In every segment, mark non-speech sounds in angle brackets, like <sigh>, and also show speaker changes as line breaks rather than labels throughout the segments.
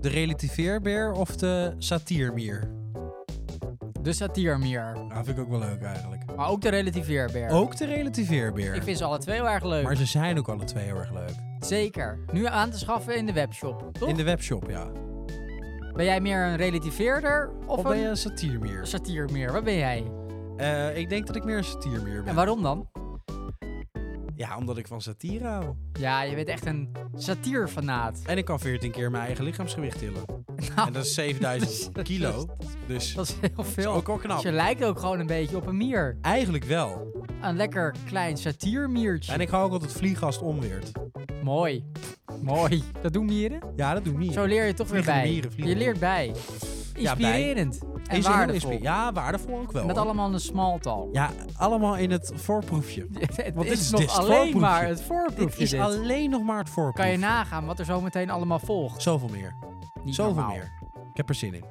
De relativeerbeer of de satiermier?
De satiermier.
Nou, vind ik ook wel leuk eigenlijk.
Maar ook de relativeerbeer.
Ook de relativeerbeer.
Ik vind ze alle twee heel erg leuk.
Maar ze zijn ook alle twee heel erg leuk.
Zeker. Nu aan te schaffen in de webshop, toch?
In de webshop, ja.
Ben jij meer een relativeerder of,
Of ben je
een
een satiermier?
satiermier? Wat ben jij?
Eh, ik denk dat ik meer een satiermier ben.
En waarom dan?
Ja, omdat ik van satire hou.
Ja, je bent echt een satierfanaat.
En ik kan 14 keer mijn eigen lichaamsgewicht tillen.
<laughs>
en dat is 7000 <laughs> kilo. Dus dat
Dat is heel
is
veel.
ook wel knap.
Dus je lijkt ook gewoon een beetje op een mier.
Eigenlijk wel.
Een lekker klein satiermiertje.
En ik hou ook altijd vliegast omweert.
Mooi. Mooi. Dat doen mieren.
Ja, dat doe ik niet.
Zo leer je toch weer
Vliegende
bij.
mieren,
je
vliegende
leert bij.
Ja, bij.
Inspirerend. En
Is heel
waardevol.
inspi- Ja, waardevol ook wel.
Met
hoor.
allemaal een smaltal.
Ja, allemaal in het voorproefje.
<laughs> het
Want dit
is
is
nog
dit
alleen
voorproefje.
maar het
Dit
voorproefje
is
dit.
alleen nog maar het voorproefje.
Kan je nagaan wat er zo meteen allemaal volgt.
Zoveel meer.
Niet
Zoveel
normaal.
meer. Ik heb er zin in.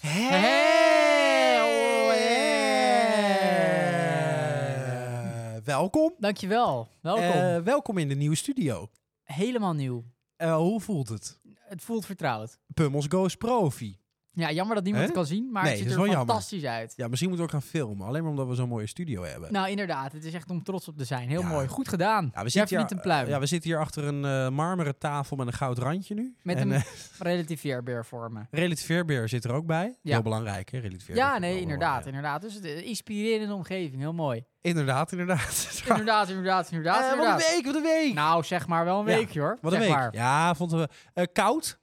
Hey! Oh, yeah.
Eh, welkom.
Dankjewel. Welkom.
Eh, welkom in de nieuwe studio.
Helemaal nieuw.
Eh, hoe voelt het?
Het voelt vertrouwd.
Pummels Goes Profi.
Ja, jammer dat niemand
Hè?
het kan zien, maar
Nee,
het ziet
dat is
er
wel jammer.
fantastisch uit.
Ja, misschien moeten we ook gaan filmen. Alleen maar omdat we zo'n mooie studio hebben.
Nou, inderdaad. Het is echt om trots op te zijn. Heel
Ja.
mooi. Goed gedaan.
ja,
Jij verdient een pluim.
ja, we zitten hier achter een eh, marmeren tafel met een goud randje nu.
Met
en,
een-
eh,
Relativeerbeer voor me.
Relatief Veerbeer zit er ook bij.
Ja.
Heel belangrijk, hè? Relatief Veerbeer
Ja,
vind ik
nee,
wel
inderdaad,
belangrijk.
inderdaad. Dus het is een inspirerende omgeving, heel mooi.
Inderdaad, inderdaad. <laughs>
Inderdaad, inderdaad, inderdaad,
Eh, wat
inderdaad.
een week, wat een week.
Nou, zeg maar wel een
Ja,
weekje hoor.
wat een
Zeg
week.
maar.
Ja, vonden we eh, koud.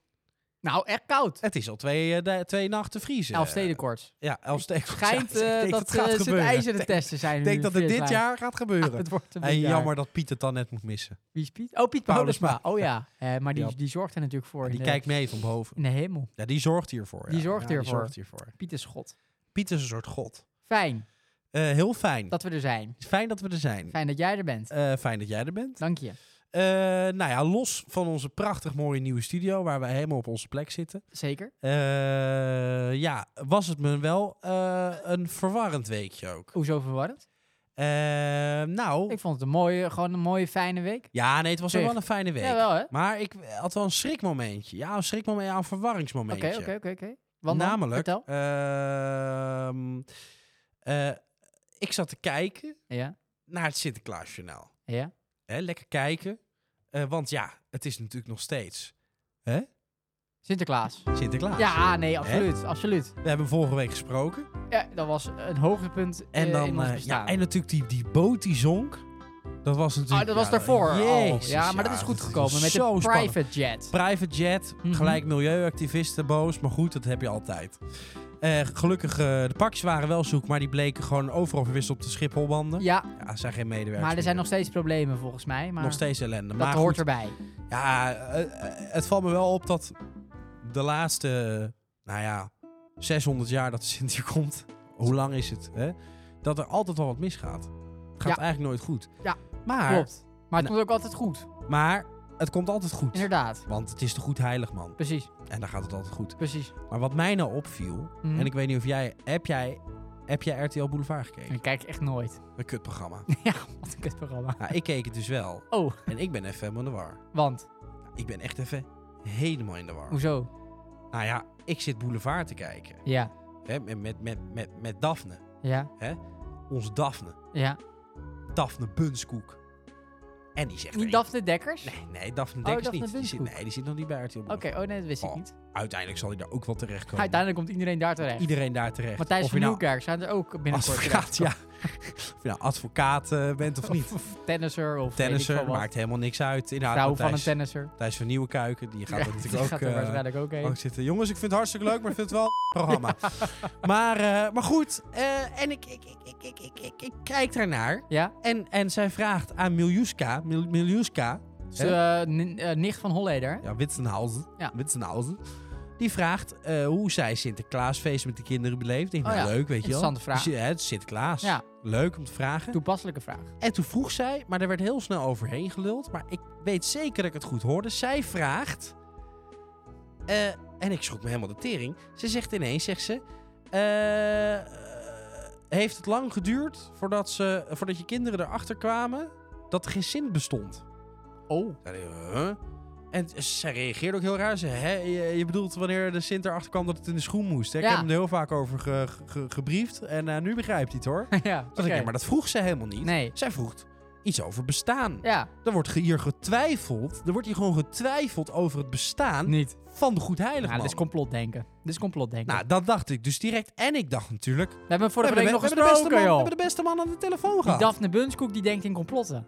Nou, echt koud.
Het is al twee, eh, da- twee nachten vriezen. Eh,
Elfstedenkoorts.
Ja, Elfsteden.
Schijnt
<laughs> Ja, ik
eh,
denk
dat
het gaat
eh, ze de
gebeuren.
ijzeren testen zijn.
Ik denk dat het dit jaar gaat gebeuren.
Het wordt een
Hey,
jaar.
jammer dat Piet het dan net moet missen.
Wie is Piet?
<laughs>
Oh, Piet
Paulusma.
Paulusma. Oh ja, Eh, maar die,
Ja.
die zorgt er natuurlijk voor.
die
in de,
kijkt mee van boven.
In de hemel.
Ja, die zorgt hiervoor.
Die
ja. Ja,
zorgt hiervoor.
zorgt hiervoor.
Piet is God.
Piet is een soort god.
Fijn
Eh, heel fijn.
dat we er zijn.
Fijn dat we er zijn.
Fijn dat jij er bent.
Eh, fijn dat jij er bent.
Dank je.
Eh, nou ja, los van onze prachtig mooie nieuwe studio, waar we helemaal op onze plek zitten.
Zeker.
eh, ja, was het me wel eh, een verwarrend weekje ook.
Hoezo verwarrend?
Eh, nou,
Ik vond het een mooie, gewoon een mooie, fijne week.
ja, nee, het was ook
Zeg.
wel een fijne week.
Ja, wel hè?
Maar ik eh, had wel een schrikmomentje. Ja, een schrikmomentje, ja, een verwarringsmomentje.
Oké, oké, oké, oké. Want dan?
Namelijk,
Vertel.
ehm, eh, ik zat te kijken
Ja,
naar het Sinterklaasjournaal.
ja.
Hè, lekker kijken. Eh, want ja, het is natuurlijk nog steeds hè?
Sinterklaas.
Sinterklaas.
Ja, ah, nee, absoluut, absoluut.
We hebben vorige week gesproken.
Ja, dat was een hoogtepunt
En, dan,
in ons
eh,
bestaan.
ja, en natuurlijk die, die boot die zonk. Dat was natuurlijk...
Ah, dat was
ja,
daarvoor al.
Jezus,
Ja, maar dat is goed gekomen
was
met
zo
de
spannend.
private jet.
Private jet,
Mhm.
gelijk milieuactivisten boos. Maar goed, dat heb je altijd. Eh, gelukkig, eh, de pakjes waren wel zoek, maar die bleken gewoon overal verwisseld op de Schipholbanden. Ja,
Ja,
het zijn geen medewerkers
maar er
meer.
zijn nog steeds problemen volgens mij. Maar
Nog steeds ellende.
dat
maar
hoort
goed,
erbij.
Ja, eh, eh, het valt me wel op dat de laatste, nou ja, 600 jaar dat de Sint hier <laughs> komt, hoe lang is het, hè? Dat er altijd wel wat misgaat. Het gaat
Ja. eigenlijk
eigenlijk nooit goed.
Ja,
maar, nou
Klopt. Maar het komt ook altijd goed.
maar het komt altijd goed.
Inderdaad.
Want het is de goed heilig man.
Precies,
En dan gaat het altijd goed.
precies.
Maar wat mij nou opviel,
Mhm.
en ik weet niet of jij, heb jij, heb jij RTL Boulevard gekeken?
En ik kijk echt nooit. <laughs>
Een kutprogramma.
ja, wat een kutprogramma.
nou, ik keek het dus wel.
Oh,
En ik ben even helemaal in de war.
want,
Ik ben echt even helemaal in de war.
hoezo?
Nou ja, ik zit Boulevard te kijken.
Ja,
Hè, met, met, met, met, met Daphne.
ja,
Onze Daphne.
ja.
Daphne Bunskoek. En die zegt...
Niet
hey,
Daphne Dekkers?
Nee, nee, Daphne
Oh,
Dekkers
Daphne
niet. Die zit,
Bunskoek.
nee, die zit nog niet bij RTL
Oké, oh nee, dat wist ik
Oh.
niet.
uiteindelijk zal hij daar ook wel terechtkomen.
Uiteindelijk komt iedereen daar terecht.
Iedereen daar terecht.
Matthijs
Of
van
je nou
Nieuwkerk zijn er ook binnenkort
advocaat,
terecht.
ja. of je nou advocaat eh, bent of niet.
Of tennisser of weet ik
Tennisser,
veel wat.
maakt helemaal niks uit. Inderdaad,
Vrouw van
Matthijs-
een tennisser.
Matthijs van Nieuwkuiken, die gaat
Ja,
er
<laughs> die
natuurlijk ook...
gaat er
eh,
waarschijnlijk ook heen.
ook zitten. Jongens, ik vind het hartstikke leuk, maar ik vind het wel een <laughs> programma. Maar, eh, maar goed, eh, en ik, ik, ik, ik, ik, ik, ik, ik kijk daarnaar.
Ja,
En, en zij vraagt aan Miljuska, Mil, Miljuska,
dus, eh, nin- eh, nicht van Holleder.
ja, Witsenhausen,
Ja.
Witsenhausen, die vraagt eh, hoe zij Sinterklaasfeest met de kinderen beleeft. Ik denk,
Oh
nou,
ja,
leuk, weet je wel.
Interessante vraag.
Dus, eh, het is Sinterklaas.
Ja.
Leuk om te vragen.
Toepasselijke vraag.
En toen vroeg zij, maar daar werd heel snel overheen geluld. Maar ik weet zeker dat ik het goed hoorde. Zij vraagt. eh, en ik schrok me helemaal de tering. Ze zegt ineens, zegt ze. eh, eh, heeft het lang geduurd voordat, ze, voordat je kinderen erachter kwamen dat er geen zin bestond?
Oh.
Daar dacht ik, huh? En t- zij reageerde ook heel raar. Ze, hè, je, je bedoelt wanneer de Sint erachter kwam dat het in de schoen moest. Hè? Ik
Ja.
heb hem er heel vaak over ge, ge- ge- gebriefd. En eh, nu begrijpt hij het hoor.
ja,
Dat ik,
oké.
<laughs> ja, maar dat vroeg ze helemaal niet.
Nee.
Zij vroeg iets over bestaan.
Ja,
Er wordt ge- hier getwijfeld. Er wordt hier gewoon getwijfeld over het bestaan
niet.
van de Goedheilige
Nou, dit is
man.
complotdenken. Dit is complotdenken.
Nou, dat dacht ik dus direct. En ik dacht natuurlijk...
we hebben
we
vorige
hebben de-
week nog
we hebben de beste man- We
gesproken, joh.
hebben de beste man aan de telefoon
Die
gehad.
Daphne Bunskoek, die denkt in complotten.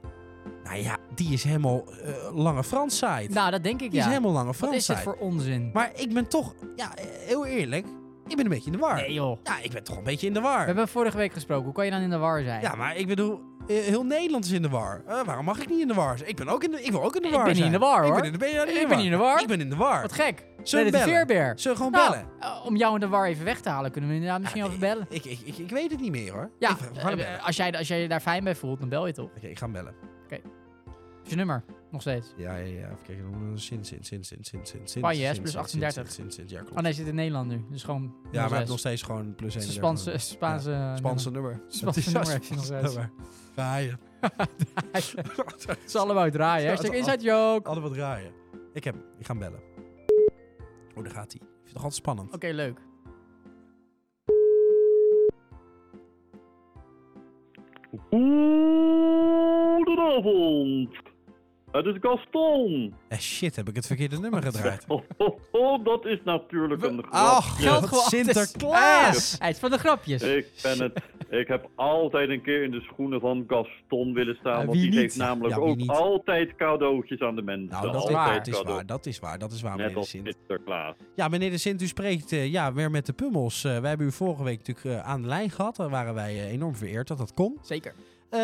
Nou ja, die is helemaal eh, lange frans side.
Nou, dat denk ik,
die is
ja.
helemaal lange
Wat
frans
is dit
side.
voor onzin?
Maar ik ben toch... Ja, eh, heel eerlijk. Ik ben een beetje in de war.
Nee, joh.
Ja, ik ben toch een beetje in de
We
war.
hebben vorige week gesproken. Hoe kan je dan in de war zijn?
Ja, maar ik bedoel... eh, Heel Nederland is in de war. Eh, waarom mag ik niet in de war zijn? Ik ben ook in de, ik wil ook in de
Ik
war
ben niet in
zijn.
de war,
Ik
hoor.
ben in de, ben je nou niet in de
Ik ben niet in de war.
Ik ben in de war.
Wat gek.
Zullen we
de
bellen?
veerbeer.
Zullen we gewoon
Nou,
bellen?
eh, om jou in de war even weg te halen, kunnen we inderdaad misschien
Ja,
even
nee,
bellen.
Ik, ik, ik, ik weet het niet meer hoor.
Ja,
Ik, ga- we gaan
eh,
bellen.
als, jij, als jij je daar fijn bij voelt, dan bel je toch.
Oké, ik ga hem bellen.
Dat is je nummer, nog steeds. Oh,
Ja, ja, ja. Even kijken. Dan- Sint, Sint, Sint, Sint, Sint, Sint, Sint.
Spanje, hè,
Sint,
plus
Sint,
38.
Sint, Sint, Sint, Sint, ja, klopt.
Oh nee, je zit in Nederland nu. Dus gewoon
ja, maar
nog
we hebben nog
steeds.
steeds gewoon plus
Het
1.
is een Spaanse, Spaanse,
<laughs> Spaanse nummer.
Spaanse
Het is
eh, nummer
een
heb je nog
Spaanse
<laughs> steeds.
nummer. Draaien. <laughs>
Het is allemaal draaien. Hashtag
Spaanse-
inside joke.
Allemaal draaien. Ik heb hem. Ik ga hem bellen. Oh, daar gaat hij. Ik vind het nog altijd spannend.
Oh.
Oké, leuk.
Goedenavond. Het is
<laughs>
Gaston.
Eh, shit, heb ik het verkeerde nummer gedraaid.
Oh, oh, oh, dat is natuurlijk een grap.
Ach,
Geld
wat
gewoon.
Sinterklaas!
Hij is van de grapjes.
Ik ben het. Ik heb altijd een keer in de schoenen van Gaston willen staan.
Ja,
want
wie
die
niet?
geeft namelijk
Ja, wie
ook
niet?
altijd cadeautjes aan de mensen.
Nou, dat is
altijd
waar. Dat is
cadeau.
waar. Dat is waar. Dat is waar,
Net
meneer de
als
Sint.
Sinterklaas.
Ja, meneer de Sint, u spreekt eh, ja, weer met de pummels. Eh, wij hebben u vorige week natuurlijk eh, aan de lijn gehad. Daar waren wij eh, enorm vereerd dat dat kon.
Zeker.
Eh,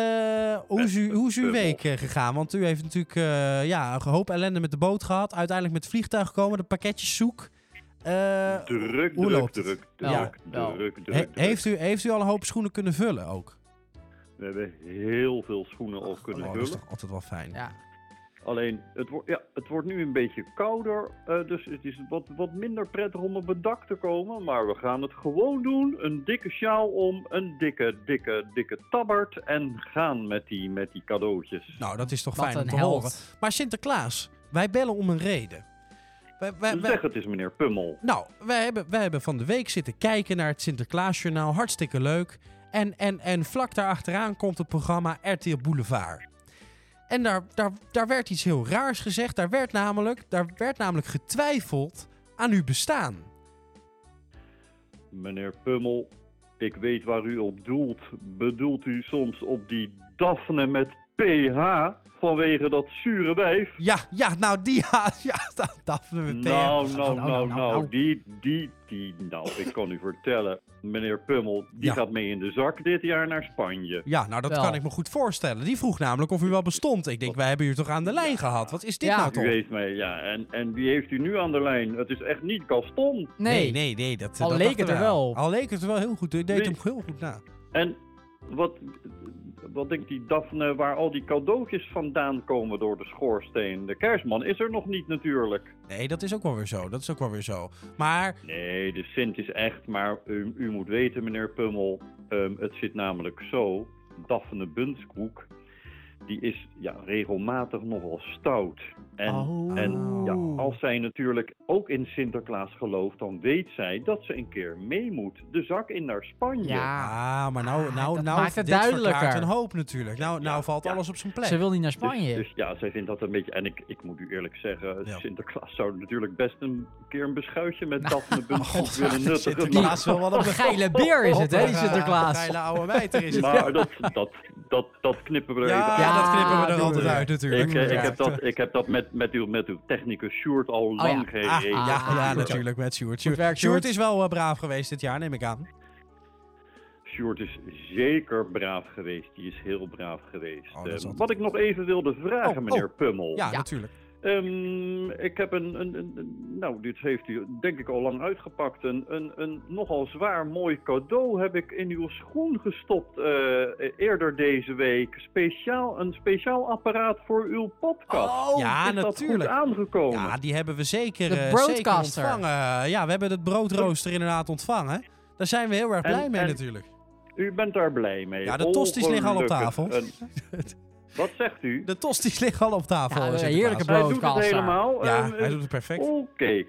hoe, is u, hoe is uw
Pummels.
week eh, gegaan? Want u heeft natuurlijk eh, ja, een hoop ellende met de boot gehad. Uiteindelijk met het vliegtuig gekomen, de pakketjes zoek. Eh,
Druk,
hoe
druk,
loopt het?
druk,
Wel,
druk,
wel.
druk,
he-
druk, druk.
heeft, u, heeft u al een hoop schoenen kunnen vullen ook?
We hebben heel veel schoenen al kunnen
Oh, dat is
vullen.
toch altijd wel fijn.
Ja.
Alleen, het, wordt ja, het wordt nu een beetje kouder, eh, dus het is wat, wat minder prettig om op het dak te komen. Maar we gaan het gewoon doen. Een dikke sjaal om, een dikke, dikke, dikke tabbert en gaan met die, met die cadeautjes.
Nou, dat is toch
Wat
fijn om
een
te horen.
held.
Maar Sinterklaas, wij bellen om een reden. Wij, wij, wij,
Dus zeg het eens, meneer Pummel.
Nou, wij hebben, wij hebben van de week zitten kijken naar het Sinterklaasjournaal. Hartstikke leuk. En, en, en vlak daarachteraan komt het programma RTL Boulevard. En daar, daar, daar werd iets heel raars gezegd. Daar werd, namelijk, daar werd namelijk getwijfeld aan uw bestaan.
Meneer Pummel, ik weet waar u op doelt. Bedoelt u soms op die Daphne met PH vanwege dat zure wijf?
Ja, ja, nou die... <laughs> Ja, ja dat- dat we
Nou, nou,
nou,
nou,
nou, nou.
nou, die, die, die, nou, ik kan u vertellen, meneer Pummel, die
Ja.
gaat mee in de zak dit jaar naar Spanje.
Ja, nou dat
Wel.
kan ik me goed voorstellen. Die vroeg namelijk of u wel bestond. Ik denk, wij hebben u toch aan de lijn gehad? Wat is dit
Ja.
nou
U
toch?
heeft mij, ja, en, en wie heeft u nu aan de lijn? Het is echt niet Gaston.
Nee.
nee, nee. nee, dat,
Al
dat
leek
dachten
het er
wij al.
wel.
Al leek het er wel heel goed. U deed
Nee.
hem heel goed na.
En wat, wat denkt die Daphne waar al die cadeautjes vandaan komen door de schoorsteen? De kerstman is er nog niet natuurlijk.
Nee, dat is ook wel weer zo. Dat is ook wel weer zo. Maar
Nee, de Sint is echt, maar u, u moet weten, meneer Pummel, ehm, het zit namelijk zo. Daphne Bunskoek, die is ja, regelmatig nogal stout. En,
Oh.
en ja, als zij natuurlijk ook in Sinterklaas gelooft, dan weet zij dat ze een keer mee moet. De zak in naar Spanje.
Ja,
Ah, maar nou,
Ah,
nou,
dat
nou
maakt het
dit verklaart
duidelijker.
een hoop natuurlijk. Nou, nou valt
ja.
alles op zijn plek.
ze wil niet naar
Dus,
Spanje.
dus ja, zij vindt dat een beetje. En ik, ik moet u eerlijk zeggen,
Ja.
Sinterklaas zou natuurlijk best een keer een beschuitje met
<laughs>
Daphne
Oh,
Bunting
god,
willen nuttigen.
Sinterklaas
Maar,
is wel wat
Wat een geile beer is het, hè, die Sinterklaas.
Geile oude mijter is het.
maar dat, dat, dat, dat knippen we er even
Ja,
uit.
Ja,
dat knippen we er
doe
altijd
het.
uit natuurlijk.
Ik, eh, ik,
Ja.
heb dat, ik heb dat met, met, uw, met uw technicus Sjoerd al
ja.
lang
Ah,
geregeld.
ja,
Ah,
ja,
Sjoerd.
natuurlijk met Sjoerd.
Goed
Sjoerd,
werk,
Sjoerd
Sjoerd.
is wel eh, braaf geweest dit jaar, neem ik aan.
Sjoerd is zeker braaf geweest. Die is heel braaf geweest.
Oh, dat is
Ehm,
altijd
wat ik nog even wilde vragen,
Oh, oh.
meneer Pummel.
Ja,
Ja.
natuurlijk.
Ehm, ik heb een, een, een- een- Nou, dit heeft u denk ik al lang uitgepakt. Een, een, een nogal zwaar mooi cadeau heb ik in uw schoen gestopt eh, eerder deze week. Speciaal, een speciaal apparaat voor uw podcast.
ja,
is
natuurlijk.
dat goed aangekomen?
Ja, die hebben we zeker,
De
eh, zeker
broadcaster.
ontvangen. Ja, we hebben het broodrooster inderdaad ontvangen. Daar zijn we heel erg
En-
blij mee
en-
natuurlijk.
U bent daar blij mee.
Ja, de tosties liggen al op
Ongelukkig.
tafel. <laughs>
En- wat zegt u?
De tosties liggen al op tafel.
Ja,
eh,
een
Sinterklaas.
heerlijke
Hij doet het
broadcaster.
helemaal.
Ja,
Ehm,
hij doet het perfect.
Oké.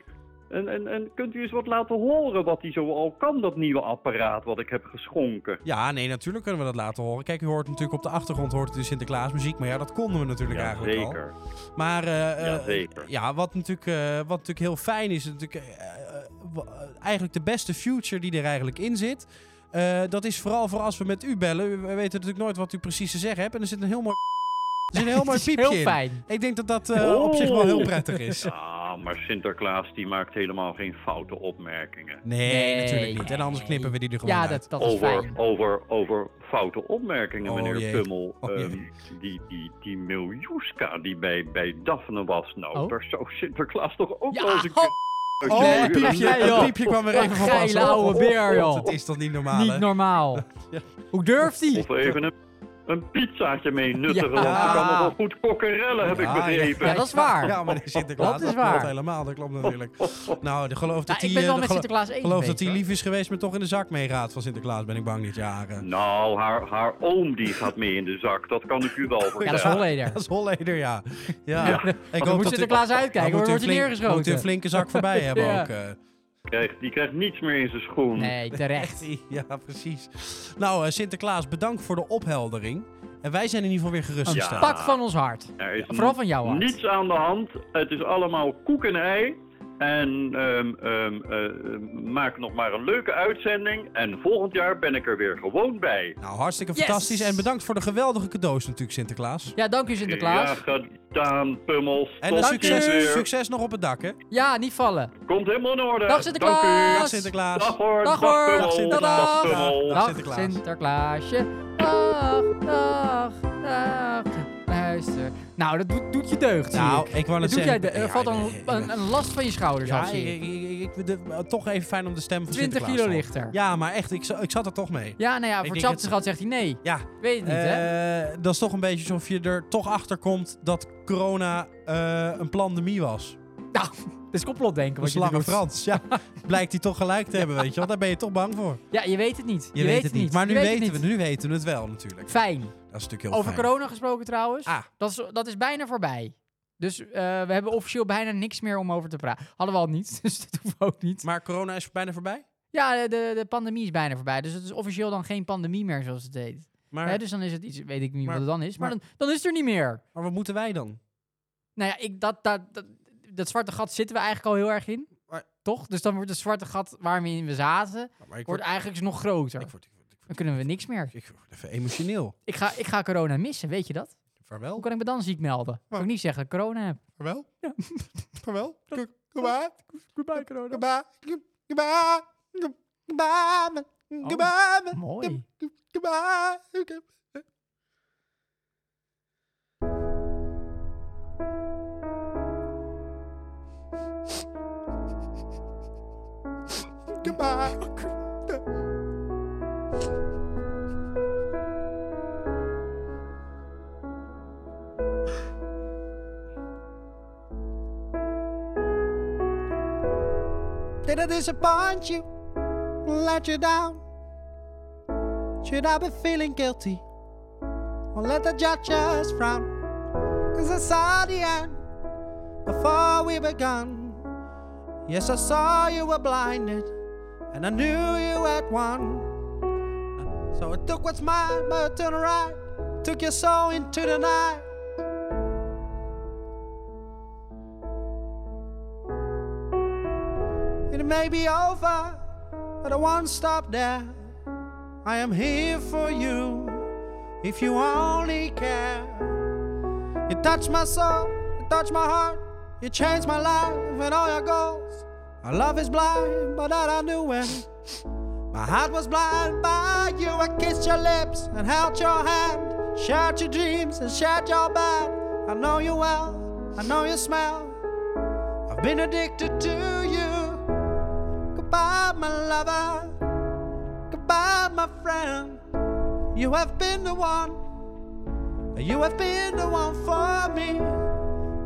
En, en, en kunt u eens wat laten horen wat hij zo al kan, dat nieuwe apparaat wat ik heb geschonken?
Ja, nee, natuurlijk kunnen we dat laten horen. Kijk, u hoort natuurlijk op de achtergrond hoort u de Sinterklaasmuziek. Maar ja, dat konden we natuurlijk eigenlijk al.
zeker.
Maar eh, eh,
Jazeker.
ja, wat natuurlijk, eh, wat natuurlijk heel fijn is, natuurlijk, eh, eh, wa- eh, eigenlijk de beste future die er eigenlijk in zit. eh, dat is vooral voor als we met u bellen. U- We weten natuurlijk nooit wat u precies te zeggen hebt. En er zit een heel mooi, <laughs> er zit een heel mooi
<laughs> Het is
piepje
heel
in.
fijn.
Ik denk dat dat eh, op zich wel heel prettig is.
<laughs>
Ah, maar Sinterklaas die maakt helemaal geen foute opmerkingen.
Nee,
Nee.
natuurlijk niet. En anders knippen we die er gewoon
Ja,
uit.
dat, dat is
Over,
fijn.
over, over foute opmerkingen,
Oh,
meneer
jee.
Pummel.
Oh,
Ehm,
jee.
die, die, die Miljuska die bij, bij Daphne was, nou,
Oh.
daar zou Sinterklaas toch ook
Ja,
wel eens een
oh.
keer...
Oh,
Nee,
het piepje,
nee,
het
joh.
piepje kwam weer
Wat
even van
geile
pas. Oh,
oude
oh,
beer,
oh,
joh.
Dat is toch niet normaal, hè?
Niet
<laughs>
normaal. Hoe durft hij?
Of even een, een pizzaatje mee nuttigen,
Ja.
want ze kan nog wel goed kokkerellen, heb ik
Ja,
begrepen.
Ja, dat is waar.
Ja, maar die Sinterklaas,
Dat is
klopt
waar.
helemaal, dat klopt natuurlijk. Nou, de geloof dat
Nou,
hij...
ik ben
eh,
wel
de
met
gelo-
Sinterklaas één.
geloof dat hij lief is geweest, maar toch in de zak meegaat van Sinterklaas, ben ik bang dit jaar. eh.
Nou, haar, haar oom die gaat mee in de zak, dat kan ik u wel vertellen.
Ja, dat is Holleder.
<laughs> Dat is Holleder, ja. ja.
Ja.
Ik
moet
dat u-
Sinterklaas uitkijken,
Dan moet
hoor,
u
wordt hij
flink-
neergeschoten.
Moet u een flinke zak
<laughs>
voorbij hebben
Ja.
ook. eh.
Krijgt- die krijgt niets meer in zijn schoen.
Nee, terecht.
<laughs> Ja, precies. Nou, eh, Sinterklaas, bedankt voor de opheldering. En wij zijn in ieder geval weer
Een
gerustgesteld.
pak van ons hart.
Er is
Vooral van jou, Art.
niets aan de hand. Het is allemaal koek en ei. En ehm, ehm, eh, ehm, maak nog maar een leuke uitzending. En volgend jaar ben ik er weer gewoon bij.
Nou, hartstikke
Yes!
fantastisch. En bedankt voor de geweldige cadeaus natuurlijk, Sinterklaas.
Ja, dank u Sinterklaas.
Ja, gedaan, pummels.
En
Tot
een
Dank
succes,
u.
ziens weer.
succes nog op het dak, hè?
Ja, niet vallen.
Komt helemaal in orde.
Dag Sinterklaas.
Dank u.
Dag Sinterklaas.
Dag hoor.
Dag hoor.
Pummel.
Dag Sinterklaas.
Dag Pummel.
Dag.
Dag
Sinterklaas.
Sinterklaasje. Dag, dag, dag. Luister. Nou, dat doet, doet je deugd, zie
Nou,
ik.
ik wou net
Dat doet jij
zeggen...
de, er
Ja,
valt
nee,
dan
nee,
een, een last van je schouders
Ja,
af, zie ik.
ik, ik, ik- ik- de- toch even fijn om de stem van
20
Sinterklaas
kilo
te
lichter.
horen. Ja, maar echt, ik, za- ik zat er toch mee.
Ja, nou ja, voor
denk
hetzelfde
het-
schat zegt hij nee.
Ja,
Weet het niet, hè?
eh, dat is toch een beetje alsof je er toch achter komt dat corona eh, een pandemie was.
Nou, dit is complotdenken
Dat
wat
is
je hier
lange
doet.
Frans. Ja, <laughs> blijkt hij toch gelijk te hebben, weet je wel. Daar ben je toch bang voor.
Ja, je weet het niet.
Je, weet, het niet. Maar nu
Je weet het
weten we
niet.
nu weten we het wel natuurlijk.
Fijn.
Dat is natuurlijk heel
Over
fijn.
corona gesproken trouwens.
Ah.
Dat, is, dat is bijna voorbij. Dus eh, we hebben officieel bijna niks meer om over te praten. Hadden we al niet, <laughs> dus dat hoeft ook niet.
Maar corona is bijna voorbij?
Ja, de, de, de pandemie is bijna voorbij. Dus het is officieel dan geen pandemie meer zoals het heet.
Maar,
Hè, dus dan is het iets, weet ik niet
maar-
wat het dan is. Maar,
maar-
dan, dan is het er niet meer.
maar wat moeten wij dan?
Nou ja, ik, dat, dat, dat, dat zwarte gat zitten we eigenlijk al heel erg in.
Maar-
Toch? Dus dan wordt het zwarte gat waar we in we zaten,
Nou, maar ik
wordt eigenlijk nog groter.
ik word, ik word, ik
Dan
word,
kunnen we niks meer.
ik word even emotioneel.
Ik ga, ik ga corona missen, weet je dat?
Vaarwel.
Hoe kan ik me dan ziek melden? Kan ik niet zeggen dat ik corona heb.
Vaarwel. Vaarwel. Goodbye.
Goodbye corona.
Goodbye. Goodbye. Goodbye. Goodbye.
Mooi.
Goodbye. Goodbye. Did I disappoint you? Let you down? Should I be feeling guilty? Or let the judges frown? Is this all the end?
before we begun. Yes, I saw you were blinded, and I knew you had won. So I took what's mine, but turned right, took your soul into the night. It may be over, but I won't stop there. I am here for you, if you only care. You touch my soul, you touch my heart, you change my life and all your goals. My love is blind, but that I knew it. My heart was blind by you. I kissed your lips and held your hand, shared your dreams and shared your bed. I know you well, I know you smell. I've been addicted to you. Goodbye, my lover. Goodbye, my friend. You have been the one you have been the one for me.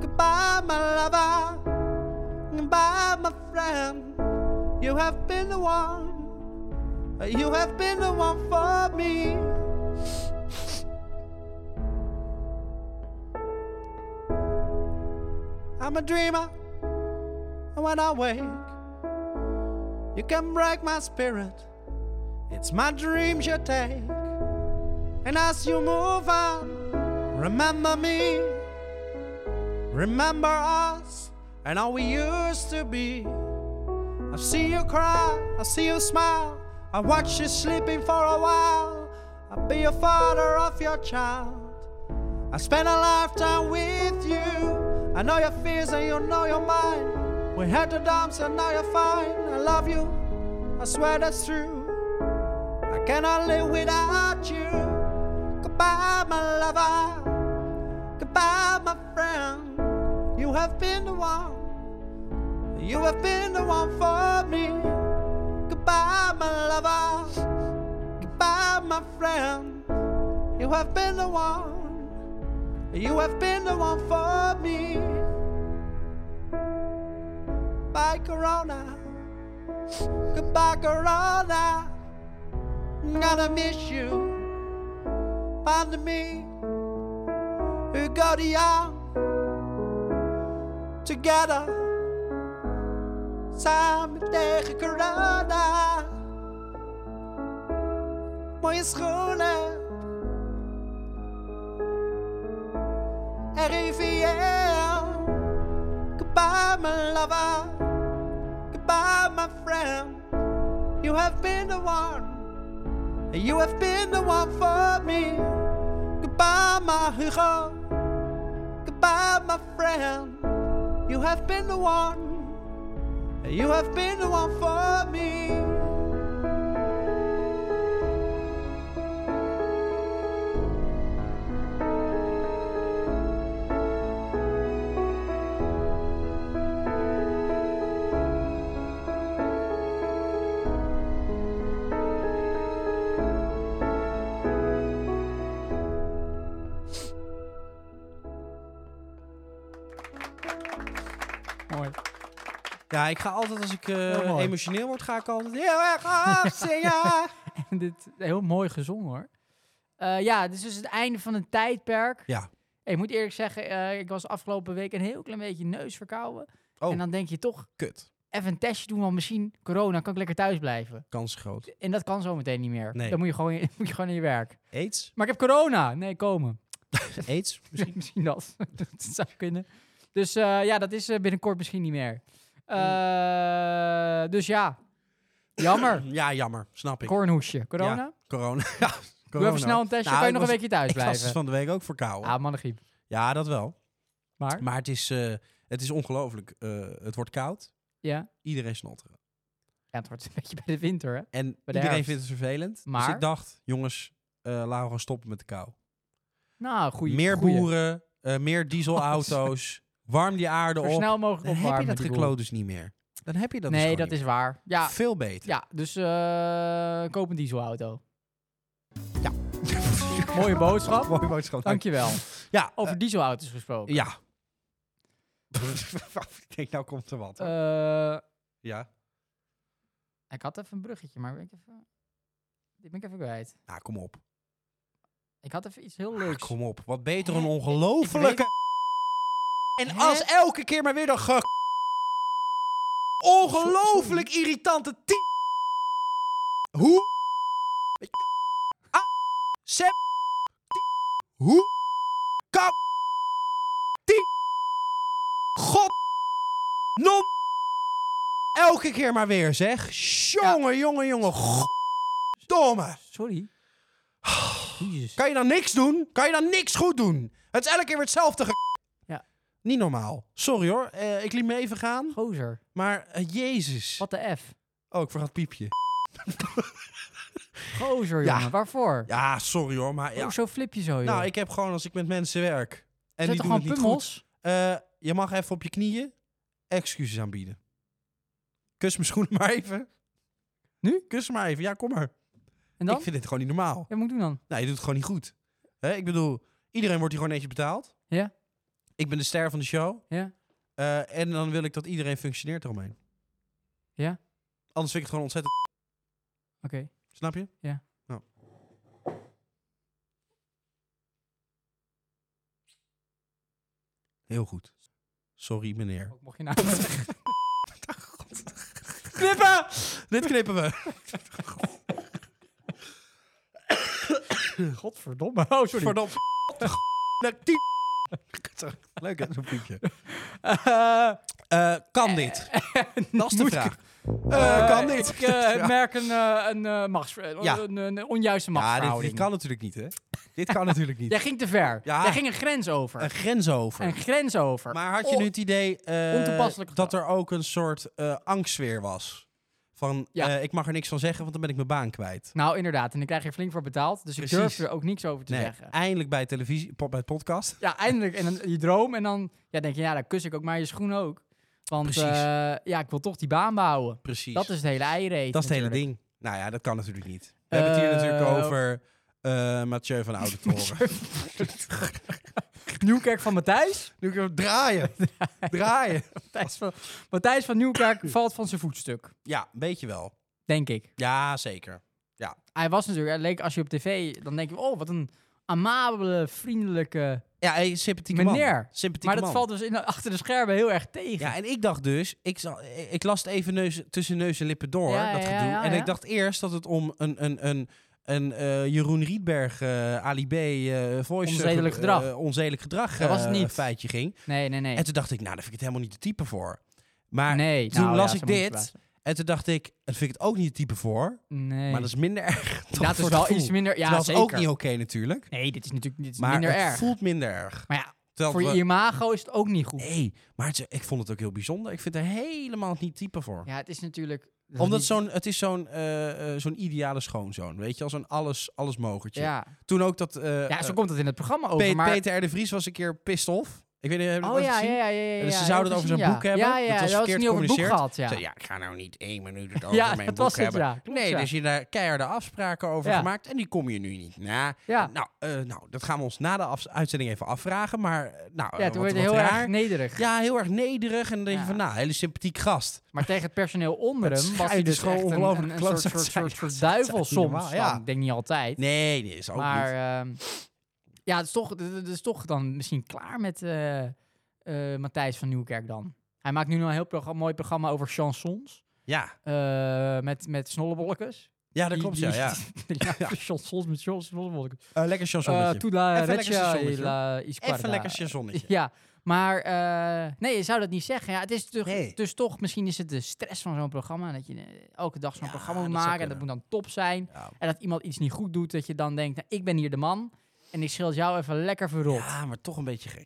Goodbye, my lover. Goodbye, my friend. You have been the one. You have been the one for me. I'm a dreamer. And when I wake, you can break my spirit. It's my dreams you take. And as you move on, Remember me. Remember us and all we used to be. I see you cry, I see you smile. I watch you sleeping for a while. I'll be a father of your child. I spent a lifetime with you. I know your fears and you know your mind. We had the dumps and now you're fine. I love you. I swear that's true. I cannot live without you. Goodbye, my lover. Goodbye, my friend. You have been the one. You have been the one for me. Goodbye, my lover. Goodbye, my friend. You have been the one. You have been the one for me. Bye, Corona. Goodbye, Corona. I'm gonna miss you pandemic who go to young together samen tegen corona mooie schoenen en rivier goodbye my lover goodbye my friend you have been the one You have been the one for me. Goodbye, my Hugo. Goodbye, my friend. You have been the one. You have been the one for me.
Mooi. <laughs>
Ja, ik ga altijd als ik eh,
Heel mooi.
emotioneel word, ga ik altijd heel erg
<laughs>
afzingen.
En dit heel mooi gezongen hoor. Eh, ja, dit is dus het einde van een tijdperk.
ja.
Ik moet eerlijk zeggen, eh, ik was afgelopen week een heel klein beetje neus verkouden.
Oh.
En dan denk je toch,
Kut.
even een testje doen, want misschien corona kan ik lekker thuis blijven.
Kans groot.
En dat kan zo meteen niet meer.
Nee.
Dan moet je, gewoon, <laughs> moet je gewoon naar je werk.
AIDS?
Maar ik heb corona. Nee, komen. <laughs>
AIDS?
Misschien, misschien dat. dat zou kunnen. Dus eh, ja, dat is eh, binnenkort misschien niet meer. Eh, Dus ja, jammer.
<coughs> Ja, jammer. Snap ik.
Kornhoesje. Corona?
Ja, corona. <laughs> Ja,
Doe
corona.
even snel een testje,
Nou,
kan je
ik
nog een
was-
weekje thuis
Ik was dus
blijven.
van de week ook verkouden.
Ah, mannengriep.
Ja, dat wel.
Maar,
Maar het is, eh, het is ongelooflijk. Eh, het wordt koud.
ja.
Iedereen snotteren.
ja, het wordt een <laughs> beetje bij de winter, hè.
En
de
iedereen
herfst.
vindt het vervelend. Dus
Maar?
ik dacht, jongens, eh, laten we gewoon stoppen met de kou.
Nou, goeie.
meer
goeie.
boeren, eh, meer
<laughs>
dieselauto's. warm die aarde
Zo
op.
snel mogelijk
Dan heb je
opwarmen.
dat
die boel.
gekloot dus niet meer. Dan heb je dat dus
nee,
gewoon
dat
niet
is waar.
meer.
Ja,
Veel beter.
ja dus eh, koop een dieselauto.
Ja.
Mooie boodschap.
<laughs> Mooie boodschap.
Dankjewel.
Ja,
Over dieselauto's
eh,
gesproken.
ja. <laughs> ik denk, nou komt er wat.
Eh,
ja.
ik had even een bruggetje, maar ben ik even... Dit ben ik even kwijt.
Nou, kom op.
Ik had even iets heel
Ah,
leuks.
kom op. Wat beter
Hè?
een
Ik- ik
ongelofelijke...
En
Hè?
als elke keer maar weer dan ge... Ongelooflijk irritante t... Hoe... Weet je, a- Sep... t- Hoe... Kap... T... God... Nom... Elke keer maar weer, zeg. Jongen, jongen, jongen. Domme. <sighs>
Sorry. Jezus.
Kan je dan niks doen? Kan je dan niks goed doen? Het is elke keer weer hetzelfde ge...
Ja.
Niet normaal. Sorry hoor, Eh, ik liet me even gaan.
Gozer.
Maar eh, jezus.
Wat de F.
Oh, ik vergat piepje.
Gozer,
Ja.
jongen. Waarvoor?
Ja, sorry hoor, maar ja.
Oh, zo flip je zo, joh.
Nou, ik heb gewoon als ik met mensen werk... en
Zet
die
toch
doen het
gewoon
niet goed...
pummels?
eh, je mag even op je knieën excuses aanbieden. Kus mijn schoenen <laughs> maar even.
Nu?
Kus ze maar even. Ja, kom maar.
En dan?
Ik vind dit gewoon niet normaal.
Ja, wat moet ik doen dan?
Nou, je doet het gewoon niet goed. Hè? Ik bedoel, iedereen wordt hier gewoon netjes betaald.
Ja.
Ik ben de ster van de show.
Ja.
Eh, en dan wil ik dat iedereen functioneert eromheen.
Ja.
Anders vind ik het gewoon ontzettend... <laughs>
Oké.
Snap je?
Ja.
Nou. Heel goed. Sorry, meneer.
Ook mocht je nou...
Knippen! Dit knippen we.
Godverdomme. Oh, sorry.
<laughs>
<laughs>
Verdomme. <laughs> Leuk hè, zo'n piepje.
Eh,
Eh, kan dit? <laughs> Dat is de
Moet ik-
vraag.
eh,
Eh, kan dit?
Ik eh, merk een, eh, een, eh, machts, eh,
Ja.
een, een onjuiste
Ja, dit- dit,
machtsverhouding.
kan natuurlijk niet, hè? dit kan natuurlijk
<laughs>
niet.
Jij ging te ver.
Ja.
Jij ging een grens over.
Een grens over.
Een grens over.
Maar had je
Oh,
nu het idee eh,
Ontoepasselijk
dat er ook een soort eh angstsfeer was? Van,
Ja.
eh, ik mag er niks van zeggen, want dan ben ik mijn baan kwijt.
Nou, inderdaad. En dan krijg je flink voor betaald. Dus ik
Precies.
durf er ook niks over te
Nee,
zeggen.
eindelijk bij televisie, po- bij het podcast.
Ja, eindelijk. En dan je droom. En dan ja, denk je, ja, dan kus ik ook maar je schoen ook. Want
Precies.
eh, ja, ik wil toch die baan behouden.
Precies.
Dat is het hele eireet.
Dat is het hele
natuurlijk.
ding. Nou ja, dat kan natuurlijk niet. We hebben het hier natuurlijk
Eh,
over eh Mathieu van
<laughs>
Oudentoren.
Nieuwkerk van
<laughs>
Matthijs.
nu kunnen we draaien. draaien.
Matthijs van, Matthijs van Nieuwkerk valt van zijn voetstuk.
Ja, weet je wel.
Denk ik.
Ja, zeker.
Hij was natuurlijk, hij leek als je op tv, dan denk je, oh, wat een amabele, vriendelijke.
Ja, hey, sympathieke man.
Meneer.
Sympathieke
Maar dat
man.
valt dus in, achter de schermen heel erg tegen.
Ja, en ik dacht dus, ik, zal- ik las het even neus, tussen neus en lippen door,
Ja,
dat
ja,
gedoe.
ja,
en
ja.
ik dacht eerst dat het om een, een, een, een eh, Jeroen Rietberg, eh Ali B, eh voice...
Onzedelijk
eh,
gedrag.
eh, onzedelijk gedrag
Dat was het
eh,
niet.
feitje ging.
Nee, nee, nee.
En toen dacht ik, nou, daar vind ik het helemaal niet de type voor. Maar
nee,
toen
nou
las
ja,
ik
zo moet je
dit.
plaatsen.
En toen dacht ik, daar vind ik het ook niet de type voor.
Nee.
Maar dat is minder <laughs> erg. toch,
dat
voor
is
het
wel
gevoel.
iets minder. Ja,
Terwijl het
zeker.
ook niet oké natuurlijk.
Nee, dit is natuurlijk dit is
Maar
minder
het
erg.
voelt minder erg.
Maar ja,
Terwijl
voor
we-
je imago is het ook niet goed.
Nee, maar het is- ik vond het ook heel bijzonder. Ik vind er helemaal niet type voor.
Ja, het is natuurlijk. dat is
Omdat
niet-
zo'n, het is zo'n, eh, eh, zo'n ideale schoonzoon, weet je, als een alles, alles mogertje.
Ja.
Toen ook dat eh,
ja, zo
eh,
komt het in het programma
Pe-
over. Maar,
Peter R. de Vries was een keer pissed off. Ik weet niet, heb je
oh
dat
ja,
gezien?
ja, ja, ja, ja.
Dus ze
ja,
zouden
dat
het over
gezien,
zo'n boek
ja.
hebben.
Ja, ja,
Dat was
ja, dat
verkeerd
niet over het boek
gecommuniceerd.
gehad. Ja,
Zei, ja, ik ga nou niet één minuut
<laughs>
het over
Ja,
mijn
dat
boek
was het,
hebben.
ja. Klopt,
nee,
ja.
dus je daar keiharde afspraken over
Ja.
gemaakt en die kom je nu niet na.
ja.
Nou, eh, nou, dat gaan we ons na de afs- uitzending even afvragen, maar eh, nou, eh,
ja toen
wat,
werd je heel
wat
erg
raar.
nederig.
Ja, heel erg nederig en dan denk je
Ja.
van, nou, hele sympathiek gast.
Maar tegen het personeel onder
Het
hem was hij
schijt is
dus
gewoon
echt een,
ongelooflijk
een, een soort,
klootzak
soort,
zijn.
soort, soort
Dat is
duivel
echt niet
soms.
normaal,
dan.
ja.
Ik denk niet altijd.
Nee, nee, is ook
maar
niet.
ehm, ja, het is, toch, het- het is toch dan misschien klaar met eh, eh, Matthijs van Nieuwkerk dan. Hij maakt nu nog een heel progra- mooi programma over chansons.
Ja,
eh, met, met snollebollekes.
ja, Ah, dat
Die-
klopt,
<laughs> die-
ja. ja.
ja, chansons met chans- snollebollekes.
Eh, lekker
Eh,
chansonnetje.
Toen la
Even lekker
Regia
chansonnetje,
y la Isquarda.
Even lekker chansonnetje.
<laughs> Ja, maar eh, nee, je zou dat niet zeggen. Ja, het is toch,
Nee.
dus toch, misschien is het de stress van zo'n programma. Dat je eh, elke dag zo'n
Ja,
programma moet
dat zou
maken. En dat moet
kunnen.
dan top zijn.
Ja.
En dat iemand iets niet goed doet, dat je dan denkt, nou, ik ben hier de man. En ik schild jou even lekker verrot.
Ja, maar toch een beetje gek.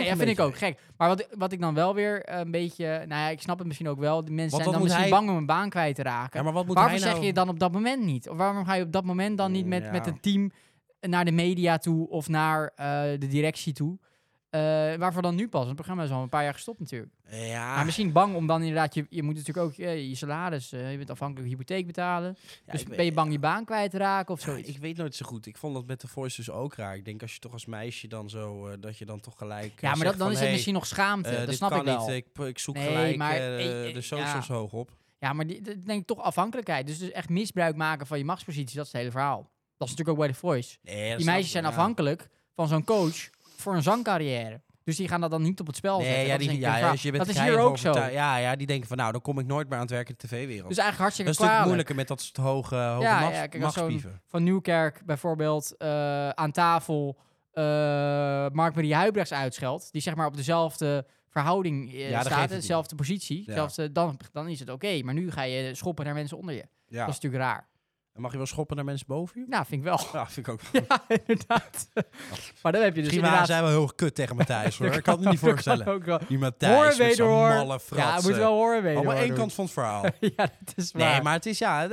toch
dat
een
vind ik
beetje
ook gek. Maar wat, wat ik dan wel weer eh, een beetje... Nou ja, ik snap het misschien ook wel. Die mensen
Want
zijn
dan
dan
moet
misschien
hij-
bang om hun baan kwijt te raken.
Ja, maar wat moet
waarom
hij
zeg
nou...
je dan op dat moment niet? Of waarom ga je op dat moment dan niet
Mm,
met,
ja.
met een team naar de media toe of naar eh, de directie toe? Eh, waarvoor dan nu pas? Het programma is al een paar jaar gestopt natuurlijk.
Ja,
Maar misschien bang om dan inderdaad, je, je moet natuurlijk ook eh, je salaris, eh, je bent afhankelijk van hypotheek betalen.
ja,
dus
ik
ben
weet-
je bang je baan kwijt te raken of
ja,
zoiets?
Ik weet nooit zo goed. Ik vond dat met de Voice dus ook raar. Ik denk als je toch als meisje dan zo... eh, dat je dan toch gelijk eh,
ja, maar dat,
zegt
dan
van,
is het
hey,
misschien nog schaamte.
eh,
dat
dit
snap
kan
ik wel.
niet. Ik, ik zoek
Nee,
gelijk
maar-
eh,
eh, eh,
de socials
ja.
hoog op.
Ja, maar die, dat denk ik toch afhankelijkheid. Dus, dus echt misbruik maken van je machtspositie, dat is het hele verhaal. Dat is natuurlijk ook bij The Voice.
Nee, dat
Die
snap
meisjes
ik
zijn
wel, ja.
afhankelijk van zo'n coach voor een zangcarrière. Dus die gaan dat dan niet op het spel zetten.
Nee, ja,
dat is,
die,
denk ik een
ja,
vraag.
als je bent
dat is
geheilig
hier ook zo.
overtuigd-
Dus
Ja, ja, die denken van nou, dan kom ik nooit meer aan het werk in de tv-wereld.
eigenlijk
dat
hartstikke
is natuurlijk
kwalijk.
moeilijker met dat soort hoge, hoge
Ja,
machts-
ja, kijk, als zo'n-
machtspieven.
Van Nieuwkerk bijvoorbeeld eh, aan tafel eh Mark-Marie Huibrechts uitscheldt. Die zeg maar op dezelfde verhouding eh,
dat geeft
staat,
het niet.
dezelfde positie.
Ja.
zelfde- dan, dan is het oké. Maar nu ga je schoppen naar mensen onder je.
Ja.
Dat is natuurlijk raar.
En mag je wel schoppen naar mensen boven je?
Nou, vind ik wel.
<laughs>
<laughs>
Ja, vind ik ook.
Ja, inderdaad. Maar dan heb je dus
Misschien waren
inderdaad...
zij wel heel kut tegen Matthijs
<laughs>
hoor.
Dat
Ik kan het me niet
dat kan
voorstellen.
ook wel.
Die
Hoor
Matthijs met zo'n
wederhoor.
malle
Ja,
fratsen.
het moet wel horen wederhoor.
Allemaal één
doen.
kant <laughs> van het
<laughs>
verhaal.
ja, dat is waar.
Nee, maar het is ja... eh,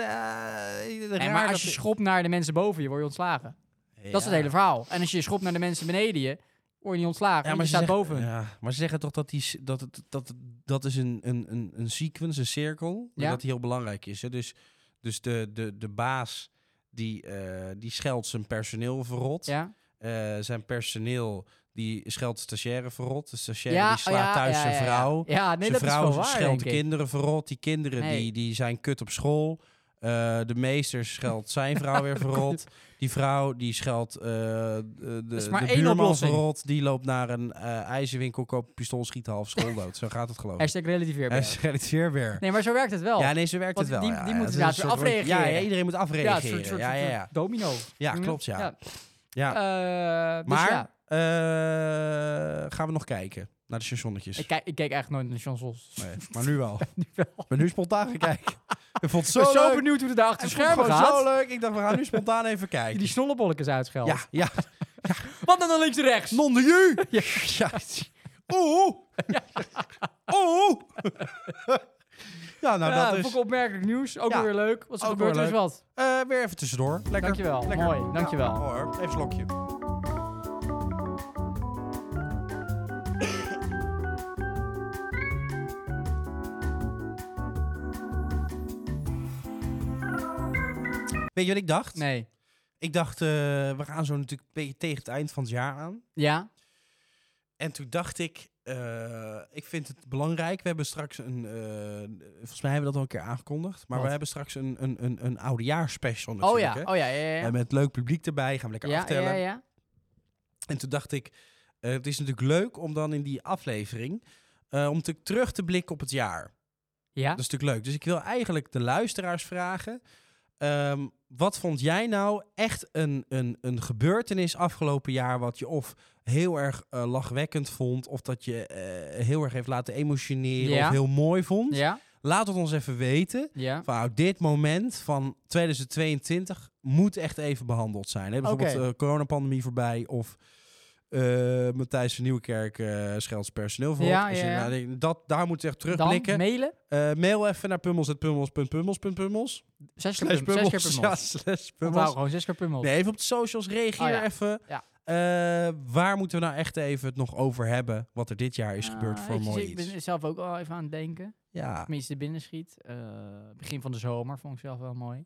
Nee,
raar
maar
dat-
als je schopt naar de mensen boven je, word je ontslagen. Dat is
Ja.
het hele verhaal. En als je schopt naar de mensen beneden je, word je niet ontslagen. want je
ze
staat
zeggen-
boven. hun.
Ja, maar ze zeggen toch dat, die, s- dat, het- dat, het- dat is een, een, een, een sequence, een cirkel, en
Ja.
dat die heel belangrijk is. Hè? Dus, dus de, de, de baas die, eh, die scheldt zijn personeel verrot.
Ja,
Eh, zijn personeel die scheldt de stagiaire verrot. De stagiaire
ja
die
oh,
slaat
ja,
thuis
ja,
zijn
ja, ja.
vrouw.
Ja, nee,
zijn
dat is
vrouw
wel waar,
scheldt
denk
de
ik.
kinderen verrot. Die kinderen die,
Nee.
die zijn kut op school. Eh, de meester scheldt
<laughs>
zijn vrouw weer verrot. Die vrouw die scheldt eh, de, de,
is maar
de
één
buurman
oplossing.
verrot. Die loopt naar een eh, ijzerwinkel, koopt een pistool, schiet half school dood. Zo gaat het geloof ik.
Hashtag relativeer.
Hij scheldt weer weer.
Nee, maar zo werkt het wel.
Ja, nee, ze werkt
Want
het wel.
die-
ja,
die
ja,
moeten
het is
inderdaad
een soort rond-
weer
Ja, ja,
afreageren.
iedereen moet
Ja, het is een
afreageren.
soort, soort,
Ja, ja,
soort
ja.
domino. Hm?
Ja, klopt, ja.
Mhm. Ja.
ja.
Eh, dus
maar
ja.
eh, gaan we nog kijken naar de stationnetjes.
Ik, kijk, ik kijk eigenlijk nooit naar de chansons.
Nee, maar nu wel.
<laughs> Nu wel.
Ik ben nu spontaan
<laughs>
gekeken. Ik vond het
Ik ben
zo
zo
leuk.
benieuwd hoe het daar achter
Het
de
is gewoon
schermen gaat.
zo leuk. Ik dacht, we gaan nu spontaan even
Die,
kijken.
die snollebolletjes uitscheldt.
ja, ja.
Wat dan naar links en rechts?
Non de ju. Ja.
<laughs>
Oeh.
<laughs>
Oeh. Ja, nou
ja, dus
dat
vond
is...
ik opmerkelijk nieuws. Ook
Ja.
wel weer leuk. Wat er
Ook
gebeurt,
wel
er is
leuk.
wat.
Eh, weer even tussendoor. Lekker.
Dankjewel.
Lekker.
Mooi, dankjewel.
Ja, mooi hoor. Even slokje. Weet je wat ik dacht?
Nee.
Ik dacht, eh, we gaan zo natuurlijk een beetje tegen het eind van het jaar aan.
Ja?
En toen dacht ik, eh, ik vind het belangrijk. We hebben straks een, eh, volgens mij hebben we dat al een keer aangekondigd. Maar
Wat?
we hebben straks een, een, een, een oudejaarspecial
Oh
natuurlijk.
ja.
hè?
Oh ja, ja, ja. ja.
En met leuk publiek erbij, gaan we lekker
ja,
aftellen.
ja, ja.
En toen dacht ik, eh, het is natuurlijk leuk om dan in die aflevering... eh, om te terug te blikken op het jaar.
Ja?
Dat is natuurlijk leuk. Dus ik wil eigenlijk de luisteraars vragen... ehm, wat vond jij nou echt een, een, een gebeurtenis afgelopen jaar... wat je of heel erg eh, lachwekkend vond... of dat je eh, heel erg heeft laten emotioneren
Ja.
of heel mooi vond?
Ja?
Laat het ons even weten.
Ja?
Van, nou, dit moment van 2022 moet echt even behandeld zijn. Hè? Bijvoorbeeld
Oké.
eh, coronapandemie voorbij of eh, Matthijs van Nieuwkerk eh scheldt zijn personeel voor.
Ja,
Als je
ja, ja.
nou denkt, dat, daar moeten we echt
Dan
terugblikken.
mailen.
Eh, mail even naar pummels.pummels.pummels.pummels.
Zes keer
Slash
pummels. Zes keer
pummels. Ja,
pummels.
slash
Onthoud
pummels.
gewoon zes keer pummels.
Nee, even op de socials, reageer
Oh, ja.
even.
Ja.
Eh, waar moeten we nou echt even het nog over hebben? Wat er dit jaar is
Ah,
gebeurd voor
weet je,
mooi
Ik
iets.
ben er zelf ook al even aan het denken.
Ja,
Tenminste, binnen schiet. begin van de zomer vond ik zelf wel mooi.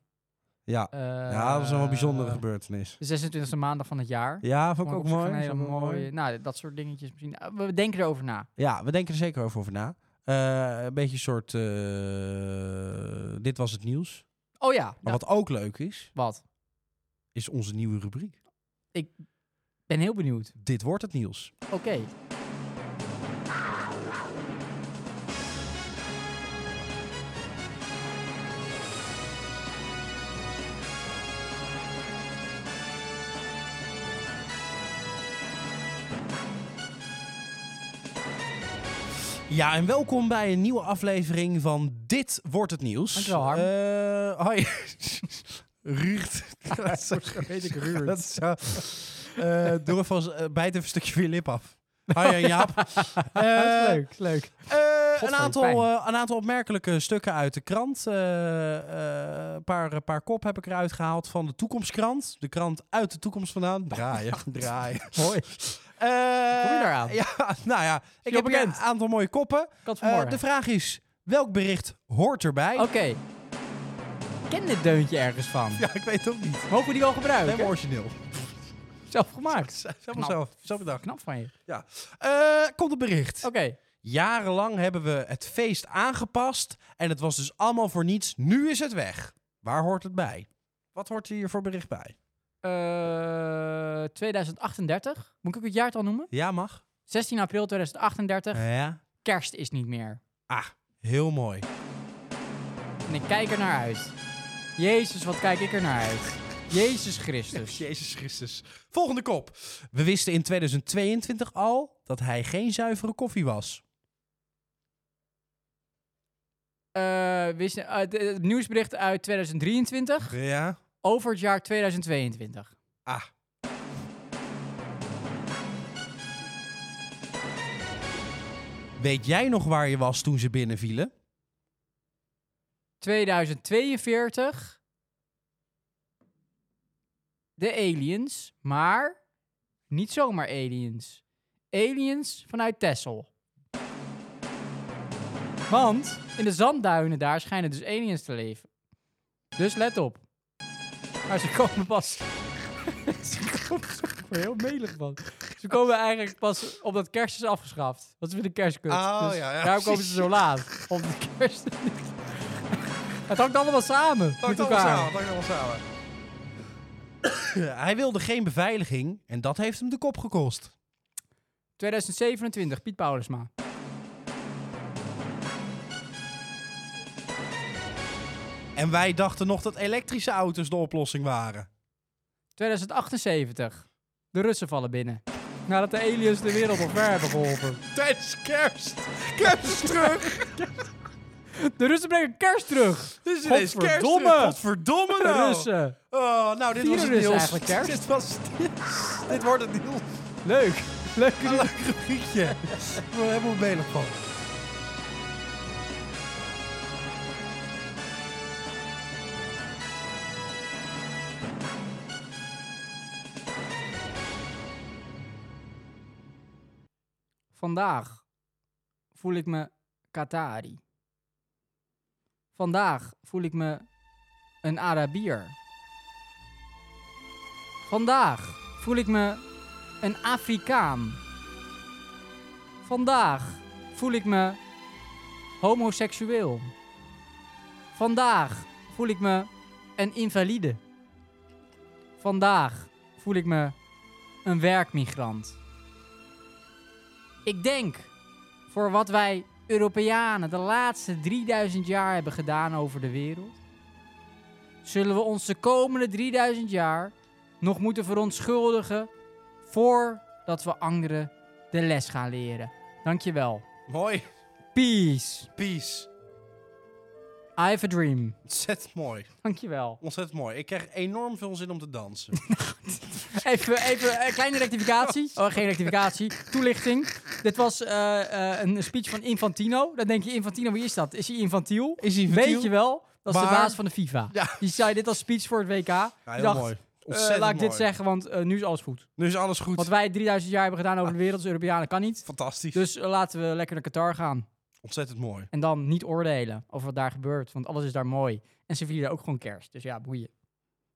Eh,
ja. ja, dat was wel een bijzondere gebeurtenis.
De 26e maandag van het jaar.
Ja, vond ik ook
op zich
mooi.
een hele
Vond ik ook mooi.
mooie- Nou, dat soort dingetjes misschien. Eh, We denken erover na.
Ja, we denken er zeker over, over na. Eh, een beetje een soort... eh, dit was het nieuws.
Oh ja,
Maar
ja,
wat ook leuk is,
wat?
is onze nieuwe rubriek.
Ben heel benieuwd.
Dit wordt het nieuws.
Oké.
Ja, en welkom bij een nieuwe aflevering van Dit Wordt Het Nieuws.
Dankjewel, Harm.
Eh, hoi. <laughs> Ruurt. <laughs>
weet ik Ruurt.
Dat is zo. Eh, doe even als, eh, bijt even een stukje van je lip af. Hoi, eh, <laughs> Jaap.
dat is
Eh,
leuk, is leuk.
eh,
Godver,
een, aantal,
pijn.
eh, een aantal opmerkelijke stukken uit de krant. Eh, eh, Een paar, een paar kop heb ik eruit gehaald van de Toekomstkrant. De krant uit de toekomst vandaan.
<laughs>
Draaien, draaien.
Mooi.
Eh,
kom je daar aan?
<laughs> Ja, nou ja. Ik
heel
heb hier een
bekend.
aantal mooie koppen.
Kat van
Eh,
morgen.
de vraag is, welk bericht hoort erbij?
Oké. Ik Ken dit deuntje ergens van?
<laughs> Ja, ik weet het ook niet.
Mogen we die wel gebruiken?
Helemaal origineel. <laughs>
Zelf gemaakt.
Helemaal zelf, zelf bedacht.
Knap van je.
Eh, komt een bericht.
Oké.
Jarenlang hebben we het feest aangepast en het was dus allemaal voor niets. Nu is het weg. Waar hoort het bij? Wat hoort hier voor bericht bij?
Eh, 2038. Moet ik ook het jaartal noemen?
Ja, mag.
16 april 2038.
Eh, Ja.
Kerst is niet meer.
Ah, heel mooi.
En ik kijk er naar uit. Jezus, wat kijk ik er naar uit. Jezus Christus.
Jezus Christus. Volgende kop. We wisten in 2022 al dat hij geen zuivere koffie was.
Eh, wist, eh, het- het nieuwsbericht uit 2023
Ja.
over het jaar 2022.
Ah. Weet jij nog waar je was toen ze binnenvielen?
2042. De aliens, maar niet zomaar aliens. Aliens vanuit Texel. Want in de zandduinen daar schijnen dus aliens te leven. Dus let op. Maar ze komen pas... <laughs> ze komen ik word er heel melig van. Ze komen eigenlijk pas omdat kerst is afgeschaft. Dat is weer de kerstkut.
Oh,
Dus
ja, ja,
daarom komen ze zo laat. Omdat de kerst... Het hangt allemaal samen. met elkaar.
samen. hij wilde geen beveiliging en dat heeft hem de kop gekost.
2027, Piet Paulusma.
En wij dachten nog dat elektrische auto's de oplossing waren.
2078, de Russen vallen binnen. Nadat de aliens de wereld omver hebben geholpen.
Tijdens kerst. Kerst is <laughs> terug.
De Russen brengen kerst terug.
Dit is
ineens kerst terug.
Godverdomme
De
nou.
Russen.
Oh, nou, dit
Vieren
was het
dus
nieuws.
eigenlijk kerst.
Dit, was, dit wordt het nieuws.
Leuk. Leuk.
Een leuk gebiedje. We hebben een benen van.
Vandaag voel ik me Qatari. Vandaag voel ik me een Arabier. Vandaag voel ik me een Afrikaan. Vandaag voel ik me homoseksueel. Vandaag voel ik me een invalide. Vandaag voel ik me een werkmigrant. Ik denk voor wat wij Europeanen de laatste 3000 jaar hebben gedaan over de wereld, zullen we ons de komende 3000 jaar nog moeten verontschuldigen voordat we anderen de les gaan leren. Dankjewel.
Mooi.
Peace.
Peace.
I have a dream.
Ontzettend mooi.
Dankjewel.
Ontzettend mooi. Ik krijg enorm veel zin om te dansen.
Even, even een kleine rectificatie. <laughs> Oh, geen rectificatie. Toelichting. Dit was eh, eh, een speech van Infantino. Dan denk je, Infantino, wie is dat? Is hij infantiel?
Is hij
Weet je wel, dat is de
Maar-
baas van de FIFA.
Ja.
Die zei dit als speech voor het WK. Ja,
heel mooi.
eh, laat
Ontzettend
ik
mooi.
dit zeggen, want eh, nu is alles goed.
Nu is alles goed.
Wat wij 3000 jaar hebben gedaan over de wereld als Europeanen kan niet.
Fantastisch.
Dus eh, laten we lekker naar Qatar gaan.
Ontzettend mooi.
En dan niet oordelen over wat daar gebeurt, want alles is daar mooi. En ze vieren ook gewoon kerst, dus ja, boeien.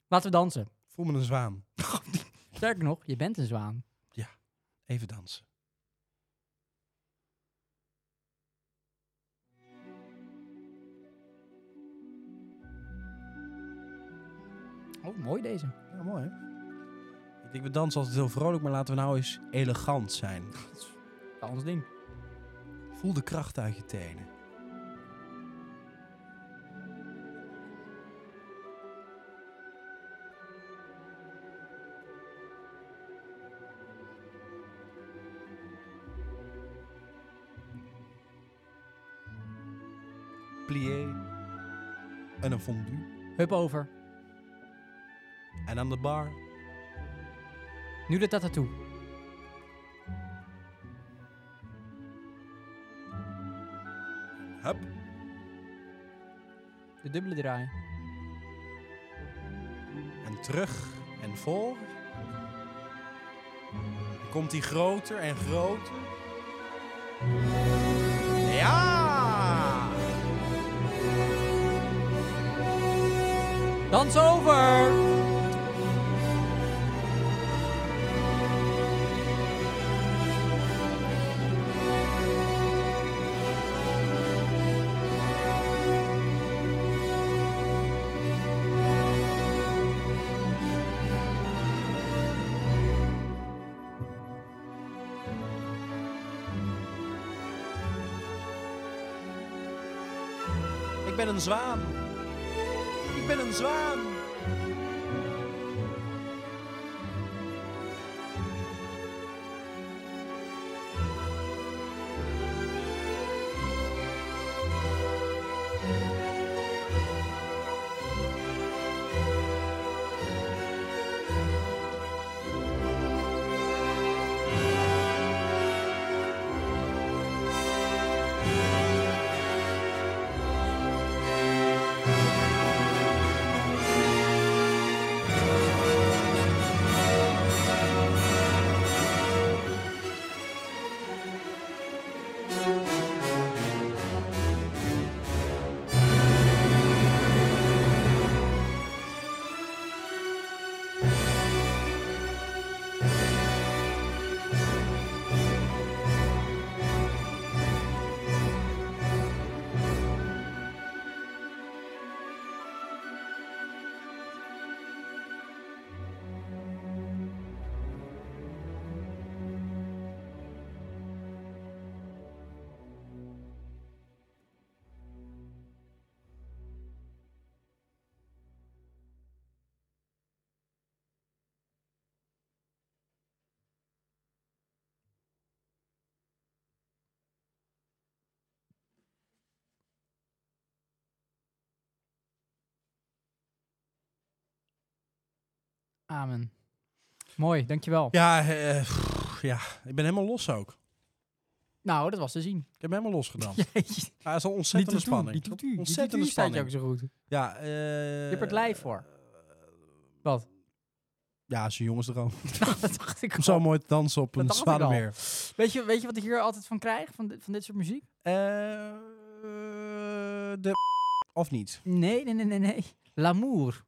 Laten we dansen.
Voel me een zwaan.
Sterker nog, je bent een zwaan.
Even dansen.
Oh, mooi deze.
Ja, mooi hè? Ik denk, we dansen altijd heel vrolijk, maar laten we nou eens elegant zijn.
Ja, ons ding.
Voel de kracht uit je tenen. Plié. En een fondue.
Hup over.
En aan de bar.
Nu de tattoo.
Hup.
De dubbele draai.
En terug. En voor. Dan komt hij groter en groter. Ja!
Dans over!
ben een zwaan. Ik ben een zwaan.
Amen. Mooi, dankjewel.
Ja, eh, pff, ja, ik ben helemaal los ook.
Nou, dat was te zien. <laughs>
Ik heb hem helemaal losgedaan.
Ja,
Hij is al ontzettende spanning.
Ontzettend
Ontzettende
staat je ook
spanning.
zo goed. Je
Ja, eh
hebt er het lijf voor.
<laughs>
Wat? <laughs>
Ja, zijn jongensdroom.
Nou, dat dacht ik
Om zo
al.
mooi te dansen op
Dat
een
dacht ik al.
zwanemeer.
Weet je, weet je wat ik hier altijd van krijg, van dit, van dit soort muziek?
Eh, de... Of niet?
Nee, nee, nee, nee, nee. L'amour.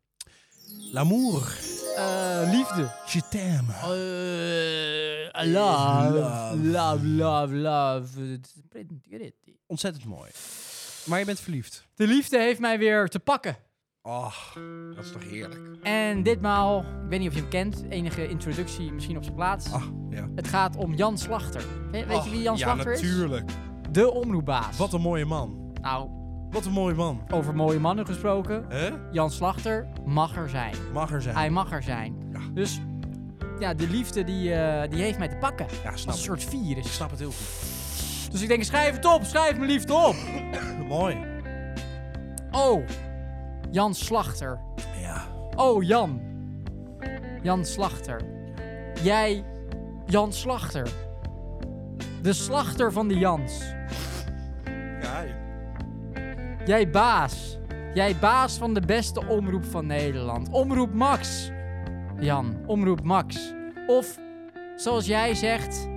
L'amour,
Eh, liefde.
je t'aime.
Eh, love.
Love.
Love, love, love.
Ontzettend mooi. Maar je bent verliefd.
De liefde heeft mij weer te pakken.
Oh, dat is toch heerlijk.
En ditmaal, ik weet niet of je hem kent, enige introductie misschien op zijn plaats.
Ah, ja.
Het gaat om Jan Slachter. We- weet
Och,
je wie Jan
Oh, ja,
Slachter is?
natuurlijk.
De omroepbaas.
Wat een Eh. mooie man.
Nou,
Wat een mooie man.
over mooie mannen gesproken.
Hè?
Jan Slachter mag er zijn.
Mag er zijn.
Hij mag er zijn.
Ja.
Dus ja, de liefde die, eh, die heeft mij te pakken.
Ja,
Als
snap
een
ik.
soort
Ik
virus.
snap het heel goed. <laughs>
Dus ik denk, schrijf het op, schrijf mijn liefde op.
Mooi.
Oh, Jan Slachter.
Ja.
Oh, Jan. Jan Slachter. Jij, Jan Slachter. De slachter van de Jans.
Ja,
Jij baas. Jij baas van de beste omroep van Nederland. Omroep Max. Jan, omroep Max. Of, zoals jij zegt,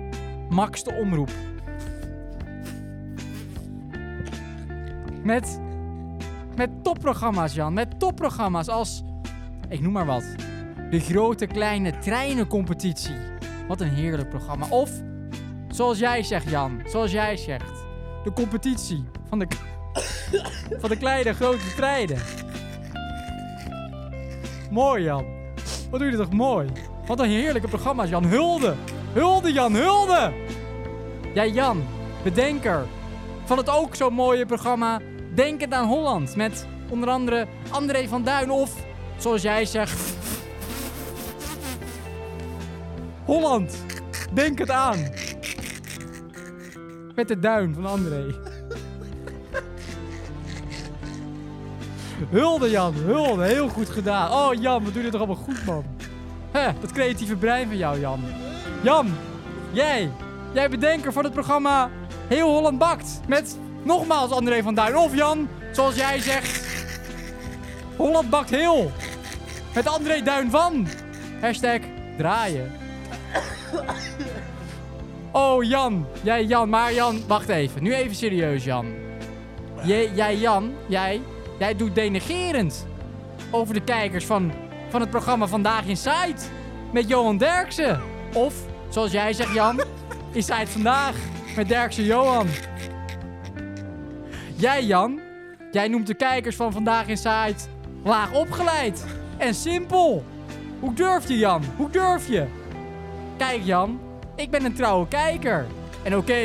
Max de omroep. Met, met topprogramma's, Jan. Met topprogramma's als, ik noem maar wat, de grote kleine treinencompetitie. Wat een heerlijk programma. Of, zoals jij zegt, Jan. Zoals jij zegt. De competitie van de van de kleine grote treinen. Mooi, Jan. Wat doe je toch mooi? Wat een heerlijke programma's, Jan. Hulde! Hulde, Jan, hulde! Jij, Jan, bedenker van het ook zo mooie programma Denkend aan Holland. Met onder andere André van Duin of, zoals jij zegt, Holland. Denk het aan. Met de duin van André. Hulde Jan, hulde. Heel goed gedaan. Oh Jan, wat doe je toch allemaal goed man. Hè, dat creatieve brein van jou Jan. Jan, jij. Jij bedenker van het programma Heel Holland Bakt. Met nogmaals André van Duin. Of Jan, zoals jij zegt. Holland Bakt Heel. Met André Duin van. Hashtag draaien. Oh Jan, jij Jan, maar Jan, wacht even. Nu even serieus Jan. Jij, jij Jan, jij, jij doet denigerend over de kijkers van, van het programma Vandaag Inside met Johan Derksen. Of, zoals jij zegt Jan, Inside Vandaag met Derksen Johan. Jij Jan, jij noemt de kijkers van Vandaag Inside laag opgeleid en simpel. Hoe durf je Jan, hoe durf je? Kijk Jan, ik ben een trouwe kijker. En oké,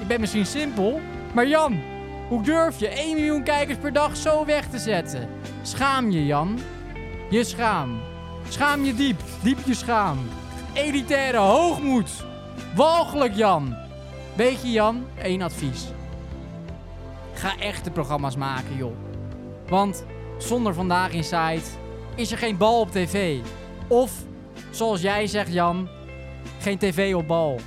ik ben misschien simpel, maar Jan, Hoe durf je 1 miljoen kijkers per dag zo weg te zetten? Schaam je, Jan. Je schaam. Schaam je diep. Diep je schaam. Elitaire hoogmoed. Walgelijk, Jan. Weet je, Jan, één advies. Ga echte programma's maken, joh. Want zonder Vandaag Insight is er geen bal op tv. Of, zoals jij zegt, Jan, geen tv op bal.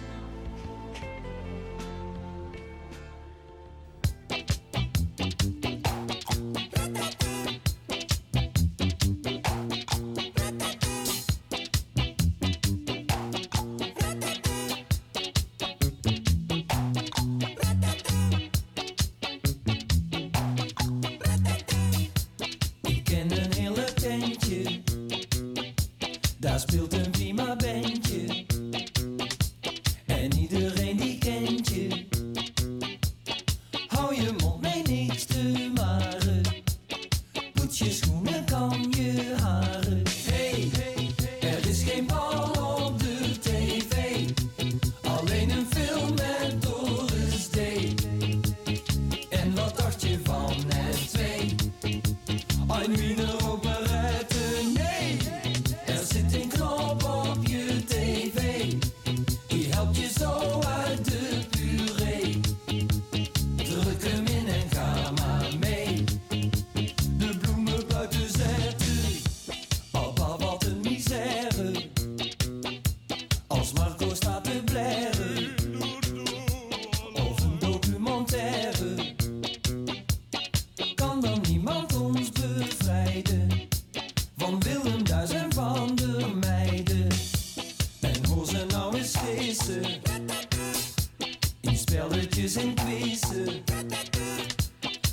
Ik ken een hele tentje, daar speelt een prima bandje. En iedereen die kent je, hou je mond mee niks te maren. Poets je schoenen, kam je haren. Hey, er is geen bal op de tv, alleen een film met Doris D. En wat dacht je van het twee? Ein Wiener Operette, nee. Er zit een knop op je tv. Die helpt je zo uit de puree. Druk hem in en ga maar mee. De bloemen buiten zetten. Papa, wat een misère. Als Marco staat te blaren. Of een documentaire kan dan niemand ons bevrijden van Willem Duis en van de meiden. En hoor ze nou eens vissen in spelletjes en quizzen.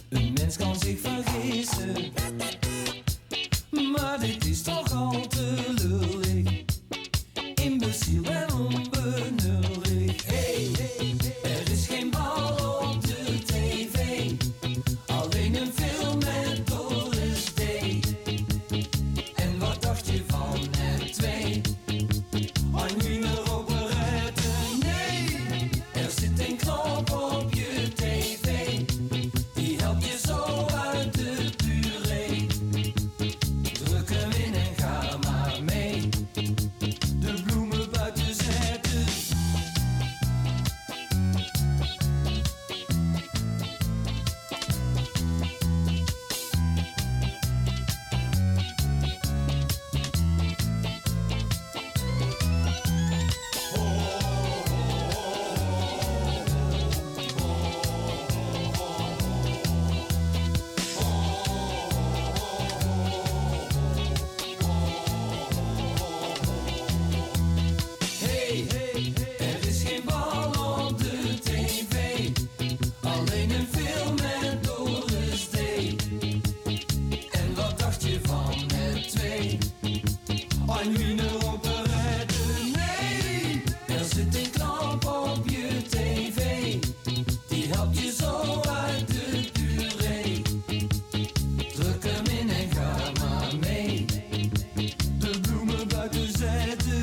Een mens kan zich vergissen, maar dit is toch al te lullig. Imbeciel en onbenullig. Hey, er is geen bal op de tv. Alleen een film met Doris D. En wat dacht je van het twee? Ein Wiener Operette, nee. Er zit een knop op je tv. Die helpt je zo uit de puree. Druk hem in en ga maar mee. De bloemen buiten zetten. Hey, er is geen bal op de tv. Alleen een film met Doris D. En wat dacht je van het twee? Ein Wiener Operette, nee. Er zit een knop op je tv. Die helpt je zo uit de puree. Druk hem in en ga maar mee. De bloemen buiten zetten.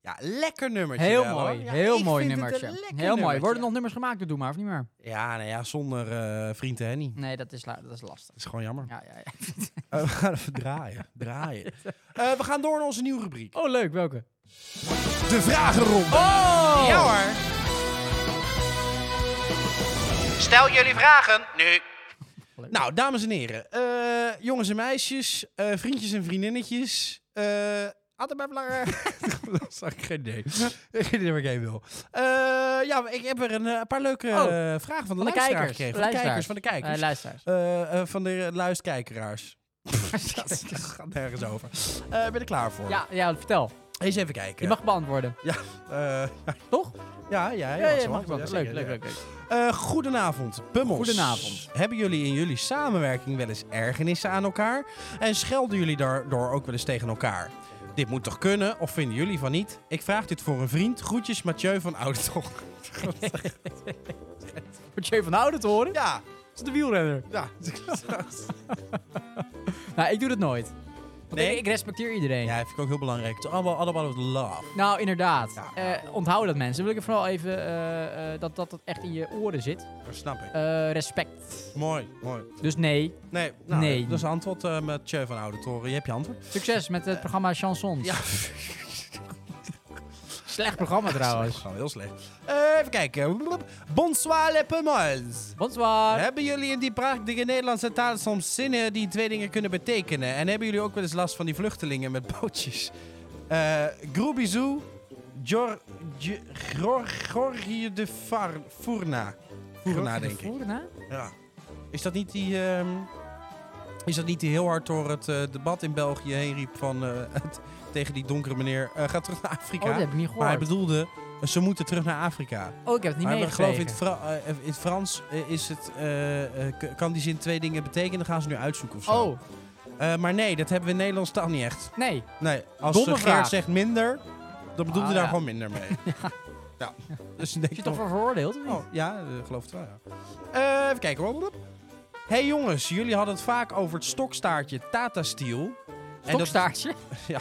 Ja, lekker nummertje
Heel
wel,
mooi,
hoor. Ja,
heel
ik
mooi
vind het
nummertje.
een lekker
Heel mooi. Worden
nummertje.
er nog nummers gemaakt? Dat doe maar, of niet meer?
Ja, nou ja, zonder eh vrienden Henny. Dat
Nee, dat is, la- dat is lastig.
is gewoon jammer.
Ja, <laughs> ja, ja.
Eh, we gaan even draaien.
<laughs>
draaien. Eh, we gaan door naar onze nieuwe rubriek.
Oh, leuk. Welke?
De vragenronde.
Oh!
Ja hoor.
Stel jullie vragen nu.
Nou, dames en heren. eh, jongens en meisjes. eh, vriendjes en vriendinnetjes. eh altijd maar belangrijk. <laughs> Dat zag ik geen <laughs> idee. Geen idee waar ik heen wil. Eh, ja, ik heb er een eh, paar leuke eh,
Oh,
vragen van de,
Van de
luisteraar
kijkers.
gekregen. Van de
Luisteraars.
kijkers, van de kijkers.
Eh,
<laughs>
luisteraars.
Eh, eh, van de luistkijkeraars. <laughs> dat gaat nergens over. Eh, ben je er klaar voor?
Ja, ja, vertel.
Eens even kijken.
Je mag beantwoorden.
Eh,
Toch?
Ja, ja,
Ja,
ja,
ja,
zo
mag
mag
wel.
dat.
Leuk,
Zeker,
leuk,
ja.
leuk. leuk.
Eh, goedenavond, Pummels.
Goedenavond.
Hebben jullie in jullie samenwerking wel eens ergernissen aan elkaar? En schelden jullie daardoor ook wel eens tegen elkaar? Dit moet toch kunnen, of vinden jullie van niet? Ik vraag dit voor een vriend. Groetjes, Mathieu van Oudertocht.
Wordt je van Houden te
<laughs>
horen?
ja,
Dat is de wielrenner.
ja. <laughs>
Nou, ik doe dat nooit. Want
Nee?
ik, ik respecteer iedereen.
ja, vind ik ook heel belangrijk. It's all about, all about love.
Nou, inderdaad.
Ja.
Eh, onthoud dat mensen. Wil ik er vooral even eh, eh, dat, dat dat echt in je oren zit.
Dat snap ik.
Eh, respect.
Mooi, mooi.
Dus nee.
Nee, nou,
Nee.
dat is antwoord, eh Mathieu van Oudertoren. Je hebt je antwoord.
Succes met het programma Chansons.
Ja.
<laughs> Slecht programma trouwens.
Gewoon heel slecht. Eh, even kijken. Bonsoir, les Pummels.
Bonsoir.
Hebben jullie in die prachtige Nederlandse taal soms zinnen die twee dingen kunnen betekenen? En hebben jullie ook wel eens last van die vluchtelingen met bootjes? Eh Groebizou, Gior, Gi- Gor- Gorgie de Far, Fourna. Fourna, denk ik.
Voerna?
Ja. Is dat niet die... ehm, is dat niet die heel hard door het eh, debat in België heen riep van, eh, <laughs> het- tegen die donkere meneer... eh, ga terug naar
Oh,
Afrika.
dat heb ik niet
maar hij
gehoord.
bedoelde, ze moeten terug naar Afrika
Oh, ik heb het niet
maar ik
meegekregen.
geloof in het, Fra- eh, in het Frans eh, is het, eh, eh, k- kan die zin twee dingen betekenen. Dan gaan ze nu uitzoeken of zo.
Oh,
Eh, maar nee, dat hebben we in Nederlands taal niet echt.
nee.
Nee, als
Domme
eh,
vraag.
Geert zegt minder, dan bedoelt
Ah,
hij daar
ja.
gewoon minder
<laughs>
mee. ja. Dus dan denk
Is je
ik
toch
nog-
voor veroordeeld? of niet?
Oh, ja, eh, geloof het wel, ja. Eh, even kijken. hoor. hey jongens, jullie hadden het vaak over het stokstaartje Tata Steel. En dat- <laughs>
Stokstaartje? <laughs>
Ja.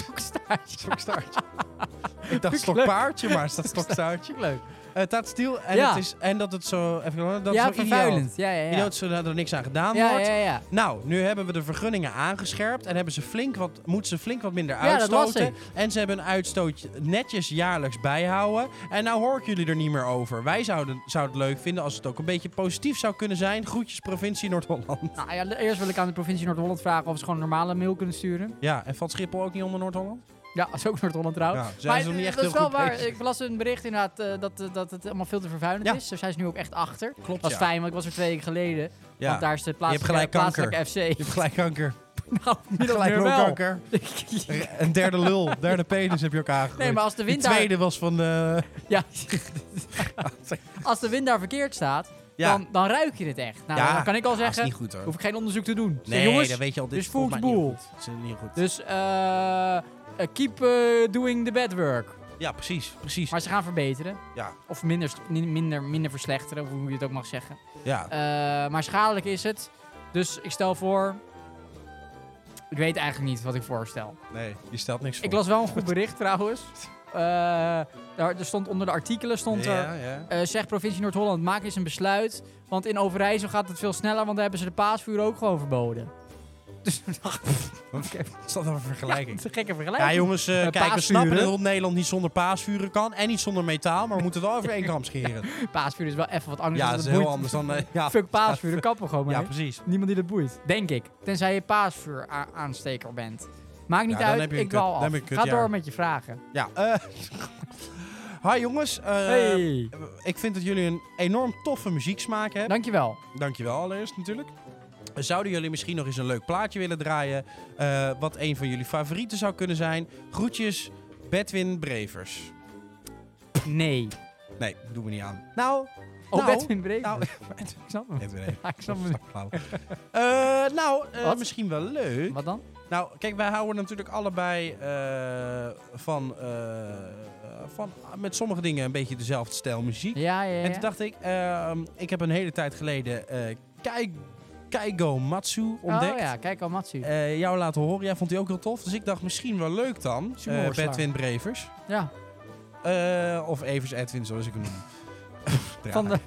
Stokstaartje.
Stokstaartje. ik dacht
Vind ik
stokpaardje, maar is dat stokstaartje?
Leuk.
Eh Tata Steel. En,
Ja.
het is, en dat het zo... Even, kijken, dat
ja,
het zo ideaal-
vervuilend. Ja, ja,
Die
ja.
dat ze er niks aan gedaan
Ja,
wordt.
ja, ja.
Nou, nu hebben we de vergunningen aangescherpt en hebben ze flink wat, moeten ze flink wat minder
Ja, dat las
uitstoten. en ze hebben een uitstootje netjes jaarlijks bijhouden. En nou hoor ik jullie er niet meer over. Wij zouden, zouden het leuk vinden als het ook een beetje positief zou kunnen zijn. Groetjes provincie Noord-Holland. <laughs>
Nou ja, eerst wil ik aan de provincie Noord-Holland vragen of ze gewoon een normale mail kunnen sturen.
Ja, en valt Schiphol ook niet onder Noord-Holland?
Ja, dat is ook Noord-Holland trouwens.
Ja, zijn ze nog niet echt
Oh, dat is
heel
wel
goed
waar.
bezig.
Ik las een bericht inderdaad eh, dat, eh, dat het allemaal veel te vervuilend
Ja.
is. Dus hij is nu ook echt achter.
Klopt,
Dat is
ja.
fijn, want ik was er twee weken geleden.
Ja.
Want daar is de plaatselijke,
gelijk kanker.
plaatselijke FC.
Je hebt gelijk
<laughs>
kanker.
Nou,
Je hebt
middel
gelijk
meer wel. <laughs>
longkanker. Een derde lul, derde penis heb je ook aangegooid.
Nee, maar als de
Die
wind daar...
tweede was van de...
Ja.
<laughs>
als de wind daar verkeerd staat,
Ja.
dan, dan ruik je het echt. Nou,
Ja.
dan kan ik al
Ah, is
zeggen,
niet goed hoor.
hoef ik geen onderzoek te doen. Zeg,
Nee,
jongens,
dat weet je al. Dit
dus
is volgens mij
voetboel.
niet goed. Het is niet goed.
Dus eh, eh, keep eh, doing the bad work.
Ja, precies. precies.
Maar ze gaan verbeteren.
Ja.
Of minder, st- min- minder, minder verslechteren, of hoe je het ook mag zeggen.
Ja.
Eh, maar schadelijk is het. Dus ik stel voor... Ik weet eigenlijk niet wat ik voorstel.
Nee, je stelt niks voor.
Ik las wel een goed bericht trouwens. Eh, daar, er stond onder de artikelen stond er...
ja, ja.
eh, zeg provincie Noord-Holland, maak eens een besluit. Want in Overijssel gaat het veel sneller, want daar hebben ze de paasvuur ook gewoon verboden. Dus ik dacht,
Wat is dat dan een vergelijking?
een gekke vergelijking.
Ja, jongens, eh,
Eh,
kijk, we
paasvuren.
snappen dat heel Nederland niet zonder paasvuren kan en niet zonder metaal, maar we moeten het wel over één kam
<laughs>
scheren.
Paasvuur is wel even wat anders.
ja,
want
dat is
het
heel anders
boeit-
dan...
<laughs>
eh, ja.
Fuck paasvuur, daar kappen we gewoon mee.
ja, precies.
Niemand die dat boeit. Denk ik. Tenzij je paasvuur a- aansteker bent. Maakt niet
Ja, dan
uit,
heb je een
ik dwaal
kut-
af.
dan heb je een
Ga
kutjaar.
door met je vragen.
Ja. eh, <laughs> hi jongens, eh,
hey,
ik vind dat jullie een enorm toffe muzieksmaak hebben.
dankjewel.
Dankjewel allereerst natuurlijk. Zouden jullie misschien nog eens een leuk plaatje willen draaien? eh, wat een van jullie favorieten zou kunnen zijn? Groetjes, Bedwin Brevers.
Nee.
Nee, doen we niet aan. Nou,
Oh,
Nou,
Bedwin Breven.
nou,
<laughs>
eh,
ik snap
<laughs>
hem.
Bedwin even.
Ja, ik <laughs> snap hem.
Eh, nou, eh,
Wat?
misschien wel leuk.
Wat dan?
Nou, kijk, wij houden natuurlijk allebei eh, van, eh, van met sommige dingen een beetje dezelfde stijl muziek.
Ja, ja, ja.
En toen dacht ik, ehm, ik heb een hele tijd geleden eh Kai- Keigo Matsu ontdekt.
Oh ja, kijk al Matsu.
Eh, jou laten horen, jij vond die ook heel tof. Dus ik dacht, misschien wel leuk dan.
Is
Eh
humorslaar.
Bedwin Brevers.
ja,
Eh, of Evers Edwin, zoals ik hem noem. <laughs> Draai.
van, de,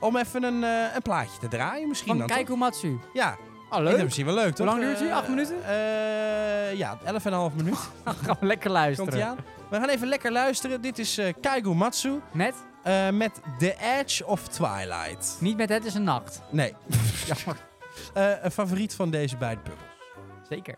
Om even een, eh, een plaatje te draaien misschien
van
dan.
Kijk
toch?
Matsu.
Ja,
Oh,
Ik vind
leuk.
het misschien wel leuk, toch?
lang duurt die?
Eh,
Acht minuten?
eh, ja, elf en een half minuut.
Gaan we lekker
Komt ie
luisteren.
aan. We gaan even lekker luisteren. Dit is eh Kaigo Matsu
Met?
eh, met The Edge of Twilight.
Niet met Het is een nacht. <laughs>
Nee, <laughs>
Ja, maar-
eh, een favoriet van deze beide puppels.
zeker.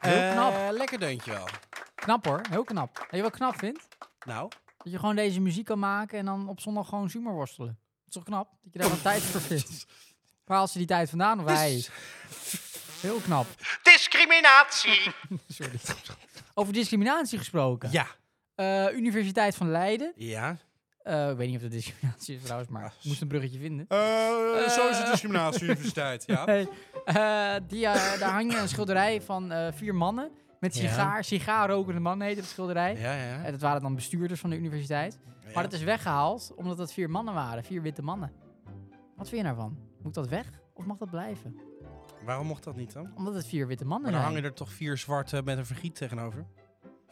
Eh, lekker deuntje wel.
Knap hoor, heel knap. Weet je wat ik knap vind?
Nou,
Dat je gewoon deze muziek kan maken en dan op zondag gewoon zomer worstelen. Dat is toch knap? Dat je daar wat tijd voor
<laughs>
vindt. Waar haalt ze die tijd vandaan?
Dus
Of hij? Heel knap.
Discriminatie.
<laughs> Sorry. Over discriminatie gesproken.
ja.
Eh, Universiteit van Leiden.
Ja.
Eh, ik weet niet of dat discriminatie is trouwens,
Ah,
maar ik moest een bruggetje vinden.
Eh, zo is het
Eh.
discriminatie universiteit,
<laughs>
ja.
Hey, eh, die, eh, daar hing een schilderij van eh, vier mannen. Met
Ja.
sigaar, sigaarrokende mannen heette het schilderij.
Ja, ja.
En dat waren dan bestuurders van de universiteit. Maar dat is weggehaald omdat dat vier mannen waren. Vier witte mannen. Wat vind je daarvan? Moet dat weg of mag dat blijven?
Waarom mocht dat niet dan?
Omdat het vier witte
Maar
mannen
dan
zijn.
hangen er toch vier zwarte met een vergiet tegenover?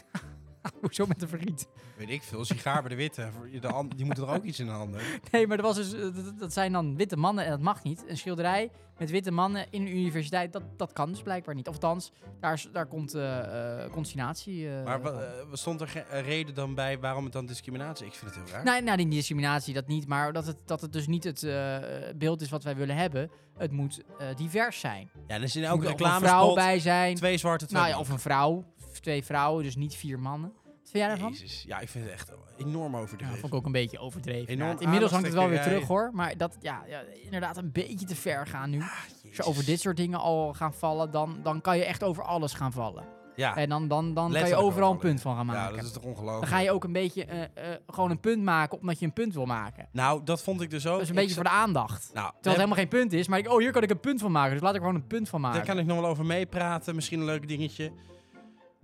<laughs> Hoezo met een verriet?
Weet ik veel, sigaar bij de witte. Voor- De an- die moeten er ook iets in de
<laughs>
handen.
Nee, maar dat, was dus, eh, dat, dat zijn dan witte mannen en dat mag niet. Een schilderij met witte mannen in een universiteit, dat, dat kan dus blijkbaar niet. Of althans, daar, is- daar komt eh eh, consignatie. eh,
Maar wa-
van.
eh, stond er geen eh, reden dan bij waarom het dan discriminatie? Ik vind het heel raar.
Nee, nou, die discriminatie, dat niet. Maar dat het, dat het dus niet het eh, beeld is wat wij willen hebben. Het moet eh, divers zijn.
Ja, er is in
Er moet
elke
ook een vrouw
reclamespot
bij zijn.
twee zwarte, twee
nou ja, of
blanke.
een vrouw. Twee vrouwen, dus niet vier mannen. Wat vind jij daarvan?
Jezus. Ja, ik vind het echt enorm
Ja,
overdreven.
vond ik ook een beetje overdreven.
Enorm
Ja, inmiddels hangt het wel weer terug
aandachtstrekkerij.
hoor. Maar dat, ja, ja, inderdaad een beetje te ver gaan nu. Als je
Jezus.
over dit soort dingen al gaan vallen, dan, dan kan je echt over alles gaan vallen.
Ja,
En dan, dan, dan kan je
Letterlijk
overal een
over alles.
punt van gaan
ja
maken.
dat is toch
Dan
ongelooflijk.
ga je ook een beetje eh, eh, gewoon een punt maken omdat je een punt wil maken.
Nou, dat vond ik dus ook.
Dat is een
Ik
beetje
za-
voor de aandacht.
Nou,
Terwijl het helemaal geen punt is, maar ik, oh, hier kan ik een punt van maken. Dus laat ik gewoon een punt van maken.
Daar kan ik nog wel over meepraten. Misschien een leuk dingetje.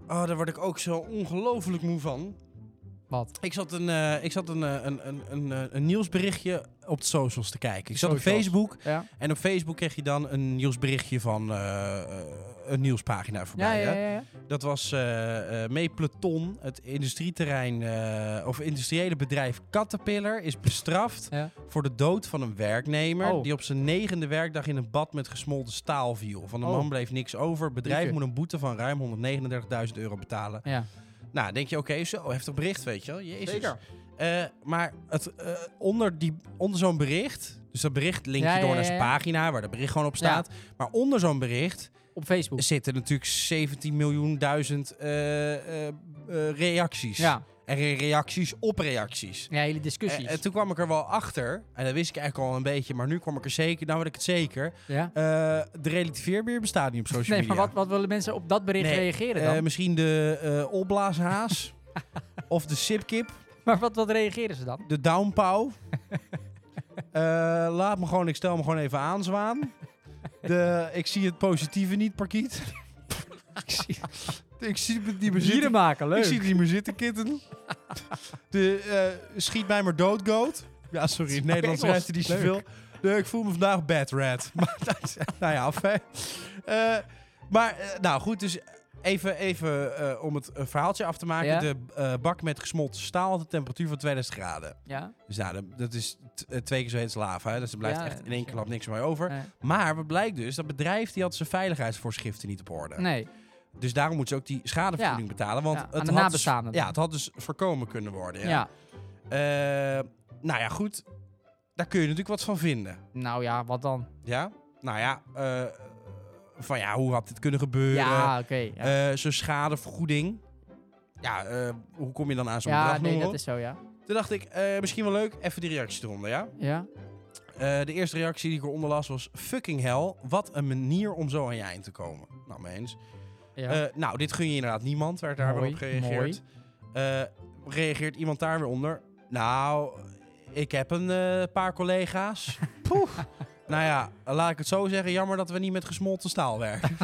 Oh, daar word ik ook zo ongelooflijk moe van.
Wat?
Ik zat een, eh, ik zat een, eh, een, een, een, eh, een nieuwsberichtje op de socials te kijken. Ik zat op
socials.
Facebook.
Ja.
En op Facebook kreeg je dan een nieuwsberichtje van eh, eh, een nieuwspagina
Ja,
voorbij.
ja,
hè?
ja, ja.
Dat was eh eh, mee Platon, het industrieterrein eh, of industriële bedrijf Caterpillar, is bestraft
Ja.
voor de dood van een werknemer
Oh.
die op zijn negende werkdag in een bad met gesmolten staal viel. Van de
Oh.
man bleef niks over. Het bedrijf
Jeetje.
moet een boete van ruim 139.000 euro betalen.
Ja.
Nou, denk je, oké, zo heftig bericht, weet je wel. Jezus. Eh, maar het, eh, onder, die- onder zo'n bericht, dus dat bericht link je
Ja, ja,
door
ja,
naar zijn
ja.
pagina waar dat bericht gewoon op staat. Maar onder zo'n bericht
Op Facebook.
zitten natuurlijk 17 miljoen duizend eh, eh, eh, reacties.
Ja.
En re- reacties op reacties.
ja, hele
En,
discussies.
en toen kwam ik er wel achter, en dat wist ik eigenlijk al een beetje, maar nu kwam ik er zeker, nou weet ik het zeker.
ja.
eh, de relativeerbeer bestaat niet op social
Nee,
media.
maar wat, wat willen mensen op dat bericht
Nee,
reageren dan?
Eh, misschien de eh
<laughs>
opblaashaas, of de sipkip,
maar wat, wat reageren ze dan?
de
<laughs>
downpow. Eh, laat me gewoon, ik stel me gewoon even aanzwaan. De, ik zie het positieve niet,
<laughs>
parkiet. ik, zie, ik zie het niet meer
Dieren
zitten.
maken,
Ik
leuk.
zie het niet meer zitten,
<laughs>
kitten. De, eh, schiet mij maar dood, goat. Ja, sorry, in het Nederlands
Engels.
schrijft hij niet zoveel. De, ik voel me vandaag bad rat. <laughs> Maar dat is- nou ja, fijn. Eh, maar, eh, nou goed, dus even, even eh, om het eh, verhaaltje af te maken.
Ja?
De eh, bak met gesmolten staal had een temperatuur van 2000 graden.
Ja,
Dus nou, dat- dat is t- eh, twee keer zo heet als lava. Hè? Dus er blijft
Ja,
echt in
dat
één
is-
klap niks meer over.
eh,
Maar wat blijkt dus, dat bedrijf die had zijn veiligheidsvoorschriften niet op orde.
nee.
Dus daarom moeten ze ook die schadevergoeding betalen. Want
Ja, aan
het,
de
had dus,
nabestaanden.
ja, het had dus voorkomen kunnen worden.
Ja.
Ja. Eh, nou ja, goed. Daar kun je natuurlijk wat van vinden.
Nou ja, wat dan?
Ja? Nou ja, eh, van ja, hoe had dit kunnen gebeuren?
Ja, oké. ja.
Eh, Zo'n schadevergoeding. Ja, eh, hoe kom je dan aan zo'n
Ja,
bedrag? noem
nee,
maar
dat
op?
is zo, ja.
Toen dacht ik, eh, misschien wel leuk, even die reacties eronder, ja?
Ja,
Eh, de eerste reactie die ik eronder las was... Fucking hell, wat een manier om zo aan je eind te komen. Nou, mee eens.
ja.
Eh, nou, dit gun je inderdaad niemand, werd daar weer
Mooi,
op gereageerd. Eh, reageert iemand daar weer onder? Nou, ik heb een eh, paar
<laughs>
collega's. Poeh. nou ja, laat ik het zo zeggen. Jammer dat we niet met gesmolten staal
<laughs>
werken.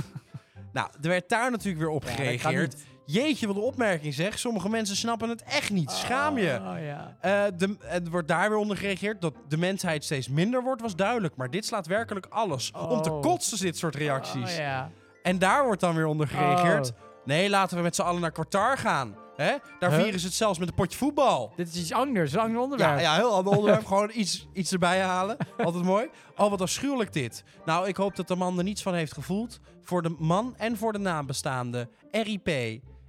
nou, er werd daar natuurlijk weer op
Ja, dat kan
gereageerd.
niet.
Jeetje, wat een opmerking zeg. Sommige mensen snappen het echt niet. Schaam je.
Oh, ja.
Eh, de, het wordt daar weer onder gereageerd dat de mensheid steeds minder wordt, was duidelijk. Maar dit slaat werkelijk alles. Om te
Oh.
kotsen dit soort reacties.
Oh, ja.
En daar wordt dan weer onder gereageerd.
Oh.
Nee, laten we met z'n allen naar Qatar gaan. Hè? Daar
Huh?
vieren ze het zelfs met een potje voetbal.
Dit is iets anders, een ander onderwerp.
Ja, ja, heel ander onderwerp. <laughs> Gewoon iets, iets erbij halen. Altijd mooi. Oh, wat afschuwelijk dit. Nou, ik hoop dat de man er niets van heeft gevoeld. Voor de man en voor de nabestaanden. RIP.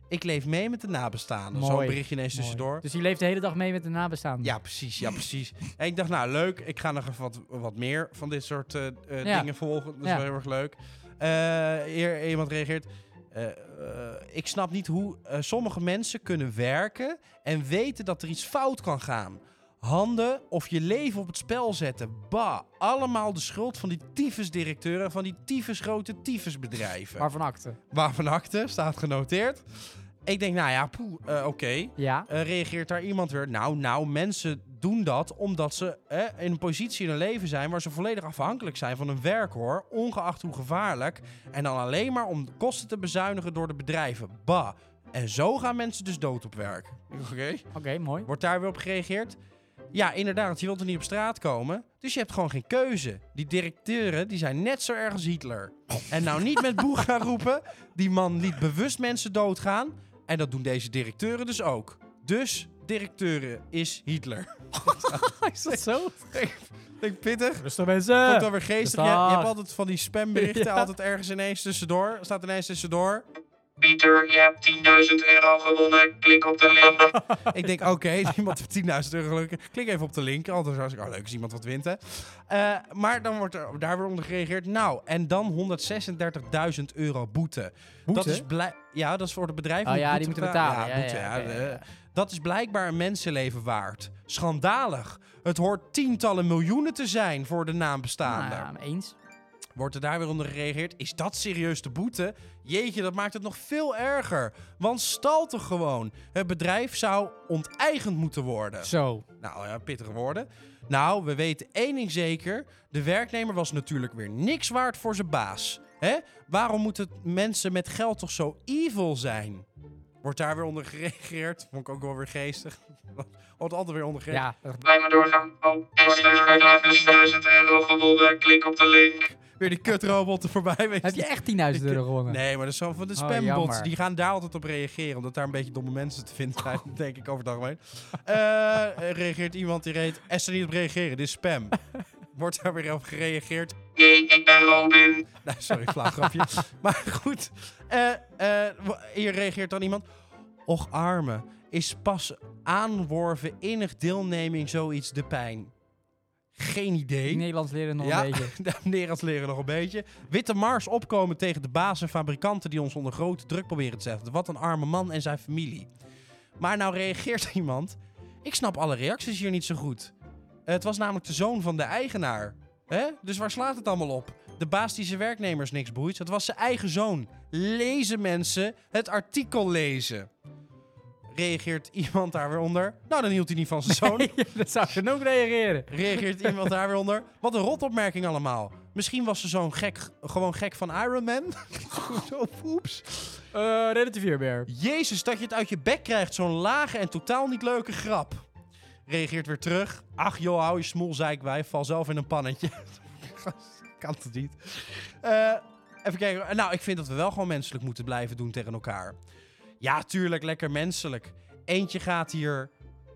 Ik leef mee met de nabestaanden.
Mooi.
Zo'n berichtje ineens
Mooi.
tussendoor.
Dus die leeft de hele dag mee met de nabestaanden.
Ja, precies. Ja, precies.
<laughs>
en ik dacht, nou leuk, ik ga nog even wat, wat meer van dit soort eh, eh,
Ja.
dingen volgen. Dat is
Ja.
wel heel erg leuk. Eh, hier iemand reageert. eh, eh, eh, ik snap niet hoe eh, sommige mensen kunnen werken en weten dat er iets fout kan gaan. Handen of je leven op het spel zetten. Bah, allemaal de schuld van die tyfusdirecteuren en van die tyfusgrote tyfusbedrijven.
Waarvan akte?
Waarvan akte, staat genoteerd. Ik denk, nou ja, poeh, eh, oké.
Ja.
Eh, reageert daar iemand weer? Nou, nou, mensen doen dat omdat ze eh, in een positie in hun leven zijn waar ze volledig afhankelijk zijn van hun werk hoor, ongeacht hoe gevaarlijk. En dan alleen maar om kosten te bezuinigen door de bedrijven. Bah. En zo gaan mensen dus dood op werk. Oké.
Oké, mooi.
Wordt daar weer op gereageerd? Ja, inderdaad, je wilt er niet op straat komen. Dus je hebt gewoon geen keuze. Die directeuren die zijn net zo erg als Hitler. En nou niet met boe gaan roepen. Die man liet bewust mensen doodgaan. En dat doen deze directeuren dus ook. Dus directeuren is Hitler.
Is dat zo?
Denk pittig.
Rustig
Komt
mensen.
dan weer geestig. Je, je hebt
dag.
altijd van die spamberichten.
Eh, <laughs> Ja.
Altijd ergens ineens tussendoor. Staat ineens tussendoor.
Pieter, je hebt 10.000 euro gewonnen. Klik op de link.
<laughs> ik denk, oké, iemand heeft 10.000 euro gelukkig. Klik even op de link, anders als ik, oh leuk, als iemand wat wint, hè. Eh, maar dan wordt er daar weer onder gereageerd. Nou, en dan 136.000 euro boete. Dat is blij ja, dat is voor de bedrijven.
Oh
die
ja,
boete
die moeten betalen.
Ja,
Ja,
boete,
ja,
ja,
oké, ja,
eh, Dat is blijkbaar een mensenleven waard. Schandalig. Het hoort tientallen miljoenen te zijn voor de naam
Nou
bestaande.
ja, eens.
Wordt er daar weer onder gereageerd? Is dat serieus de boete? Jeetje, dat maakt het nog veel erger. Want stal toch gewoon. Het bedrijf zou onteigend moeten worden.
Zo.
Nou ja, pittige woorden. Nou, we weten één ding zeker. De werknemer was natuurlijk weer niks waard voor zijn baas. Hè? Waarom moeten mensen met geld toch zo evil zijn? Wordt daar weer onder gereageerd. Vond ik ook wel weer geestig. <laughs> Wordt altijd weer onder gereageerd.
Ja.
Blijf maar doorgaan. Oh, extra uitlaat is 1000 euro gewonnen. Klik op de link.
Weer die kutrobot er voorbij. Weet
Heb je echt 10.000 euro gewonnen?
Nee, maar dat is zo van de
Oh,
spambots.
jammer.
die gaan daar altijd op reageren. Omdat daar een beetje domme mensen te vinden zijn,
Oh.
denk ik over het algemeen. Eh, er reageert iemand die reed. Esther niet op reageren, dit is spam. Wordt daar weer op gereageerd.
Jee, ik ben Robin.
Nou, sorry, flauw grapje. Maar goed, eh, eh, wa- hier reageert dan iemand. Och arme, is pas aanworven innig deelneming zoiets de pijn? Geen idee.
Nederlands leren nog een
<laughs>
beetje.
dames en heren, als leren nog een beetje. Witte Mars opkomen tegen de baas en fabrikanten die ons onder grote druk proberen te zetten. Wat een arme man en zijn familie. Maar nou reageert <laughs> iemand. Ik snap alle reacties hier niet zo goed. Het was namelijk de zoon van de eigenaar. Hè? Dus waar slaat het allemaal op? De baas die zijn werknemers niks boeit. Het was zijn eigen zoon. Lezen mensen het artikel lezen. Reageert <laughs> iemand daar weer onder? Nou, dan hield hij niet van zijn zoon.
dat zou genoeg reageren.
Reageert iemand daar weer onder? Wat een rotopmerking allemaal. Misschien was ze zo'n gek, gewoon gek van Iron Man. <laughs> Zo, oeps.
Eh relatief hierbeer.
Jezus, dat je het uit je bek krijgt, zo'n lage en totaal niet leuke grap. Reageert weer terug. Ach joh, hou je smoel, zeikwijf. Val zelf in een pannetje. <laughs> Gast, kan het niet. Eh, even kijken. Nou, ik vind dat we wel gewoon menselijk moeten blijven doen tegen elkaar. Ja, tuurlijk, lekker menselijk. Eentje gaat hier...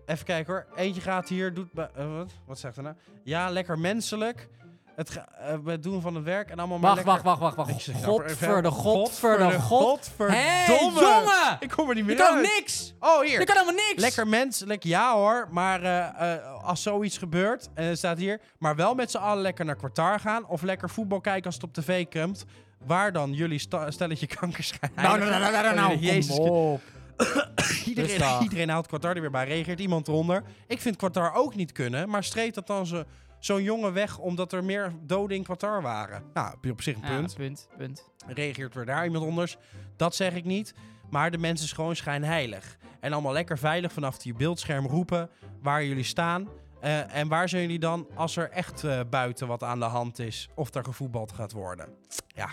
Even kijken hoor. Eentje gaat hier... Doet, ba- eh, wat? wat zegt er nou? Ja, lekker menselijk. Het, ga- eh, het doen van het werk en allemaal maar
Wacht, wacht,
lekker-
wacht, wacht, wacht.
nou,
Godverde, godverde,
Godverde,
god. Hé,
godverdomme.
jongen!
Ik kom er niet
Je
meer
kan ook
uit.
niks!
Oh, hier.
Je kan helemaal niks!
Lekker menselijk, ja hoor. Maar eh, eh, als zoiets gebeurt, eh, staat hier. Maar wel met z'n allen lekker naar kwartaar gaan. Of lekker voetbal kijken als het op tv komt. Waar dan jullie sta- stelletje <laughs> kankers gaan.
Nou, nou, nou, nou, nou, nou, nou.
Jezus.
Kom op.
<laughs> Iedereen,
rustig.
iedereen haalt kwartaar er weer bij. Reageert iemand eronder. Ik vind kwartaar ook niet kunnen. Maar streed dat dan zo- zo'n jongen weg omdat er meer doden in kwartaar waren? Nou, heb je op zich een
Ja,
punt.
punt, punt.
reageert weer daar iemand anders. Dat zeg ik niet. Maar de mensen is gewoon schijnheilig. En allemaal lekker veilig vanaf je beeldscherm roepen waar jullie staan. Eh, en waar zijn jullie dan als er echt eh, buiten wat aan de hand is of er gevoetbald gaat worden? Ja,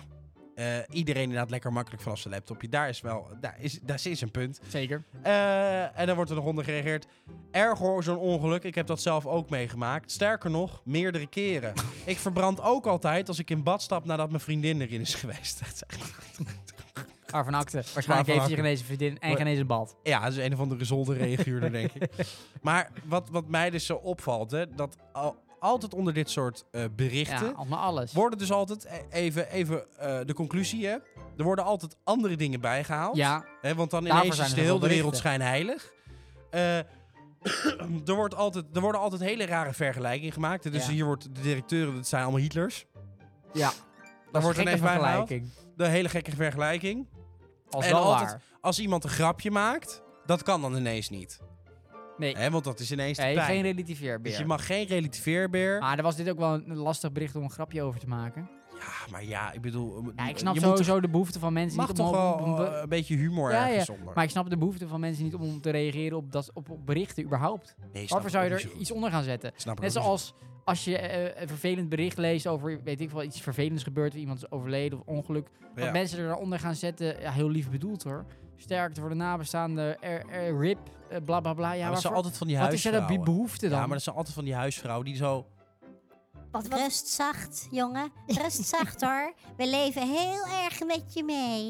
Eh, iedereen inderdaad lekker makkelijk vanaf zijn laptopje. Daar is wel, daar is, daar is een punt.
Zeker.
Eh, en dan wordt er nog onder gereageerd. Erg hoor, zo'n ongeluk. Ik heb dat zelf ook meegemaakt. Sterker nog, meerdere keren. ik verbrand ook altijd als ik in bad stap nadat mijn vriendin erin is <laughs> geweest. Dat is echt-
Waarvan akte. Waarschijnlijk
Waarvan
heeft
akte.
hij genezen vriendin en genezen bad.
ja, dat is een of de gezonde reaguurder, denk ik. Maar wat, wat mij dus zo opvalt, hè, dat al- altijd onder dit soort eh, berichten...
Ja, allemaal alles.
worden dus altijd, eh, even, even eh, de conclusie, hè. Er worden altijd andere dingen bijgehaald.
Ja,
Hè, want dan
Daarvoor
ineens
zijn
is
er
de
wel
hele wereld
berichten.
schijnheilig. Eh, <clears throat> er, wordt altijd, er worden altijd hele rare vergelijkingen gemaakt. Dus
Ja.
hier wordt de directeuren, dat zijn allemaal Hitlers.
ja.
wordt
een
er
gekke
ineens bijgehaald.
vergelijking.
De hele gekke vergelijking.
Als
En
wel
altijd-
waar.
Als iemand een grapje maakt, dat kan dan ineens niet.
Nee,
Hè, want dat is ineens te
nee
pijn.
geen Ah. relativeerbeer.
dus je mag geen relativeerbeer.
Maar er was dit ook wel een lastig bericht om een grapje over te maken.
Ja, maar ja, ik bedoel... eh,
Ja, ik snap
je moet
sowieso de behoefte van mensen
mag
niet
toch
om...
wel
om- om-
eh, een beetje humor
Ja,
ergens
ja.
onder.
maar ik snap de behoefte van mensen niet om, om te reageren op, dat, op, op berichten überhaupt.
nee, snap
Waarvoor zou je
ik ook
er
niet
iets
zo goed.
onder gaan zetten?
Snap ik
Net
ook niet zo
zoals als je eh, een vervelend bericht leest over, weet ik wel, iets vervelends gebeurt, iemand is overleden of ongeluk.
goed.
Dat
Ja.
mensen er onder gaan zetten, ja, heel lief bedoeld hoor. Sterkte voor de nabestaanden, er, er, rip, eh, bla bla bla. Ja,
maar dat zijn
waarvoor-
altijd van die
wat is er dan
huisvrouwen.
die behoefte dan?
Ja, maar dat zijn altijd van die huisvrouwen die
<laughs>
zo...
Wat, wat?
Rust zacht, jongen. Rust
<laughs>
zacht hoor. We leven heel erg met je mee.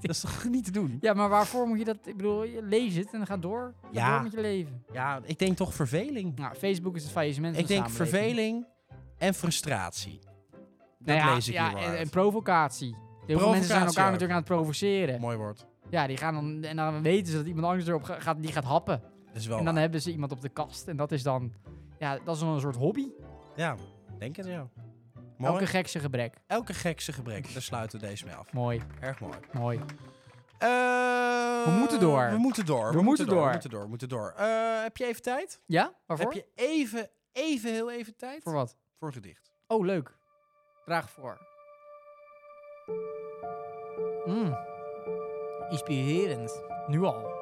Dat is toch niet te doen?
Ja, maar waarvoor moet je dat? Ik bedoel, je lees het en dan ga door. Ga
Ja.
door met je leven.
Ja, ik denk toch verveling.
Nou, Facebook is het faillissement van
Ik denk
de samenleving.
verveling en frustratie. Dat
Nou ja,
lees ik
ja,
hier wel
en,
uit.
en provocatie. Heel veel
Provocatie
mensen zijn elkaar
ook.
natuurlijk aan het provoceren.
Mooi woord.
Ja, die gaan dan, en dan weten ze dat iemand anders erop ga- gaat, die gaat happen.
Dat is wel
en dan
waar.
hebben ze iemand op de kast. En dat is dan, ja, dat is dan een soort hobby.
Ja, denk het ja. Mooi.
Elke
Elke,
gek zijn gebrek.
gekse gebrek. Daar sluiten we deze mee af.
Mooi,
Erg mooi.
mooi.
Eh,
We moeten door.
We moeten door.
We moeten door.
We moeten door. We moeten door. Eh, heb je even tijd?
Ja, waarvoor?
Heb je even, even heel even tijd?
Voor wat?
Voor gedicht.
Oh, leuk. Draag voor. Mm. Inspirerend. Nu al.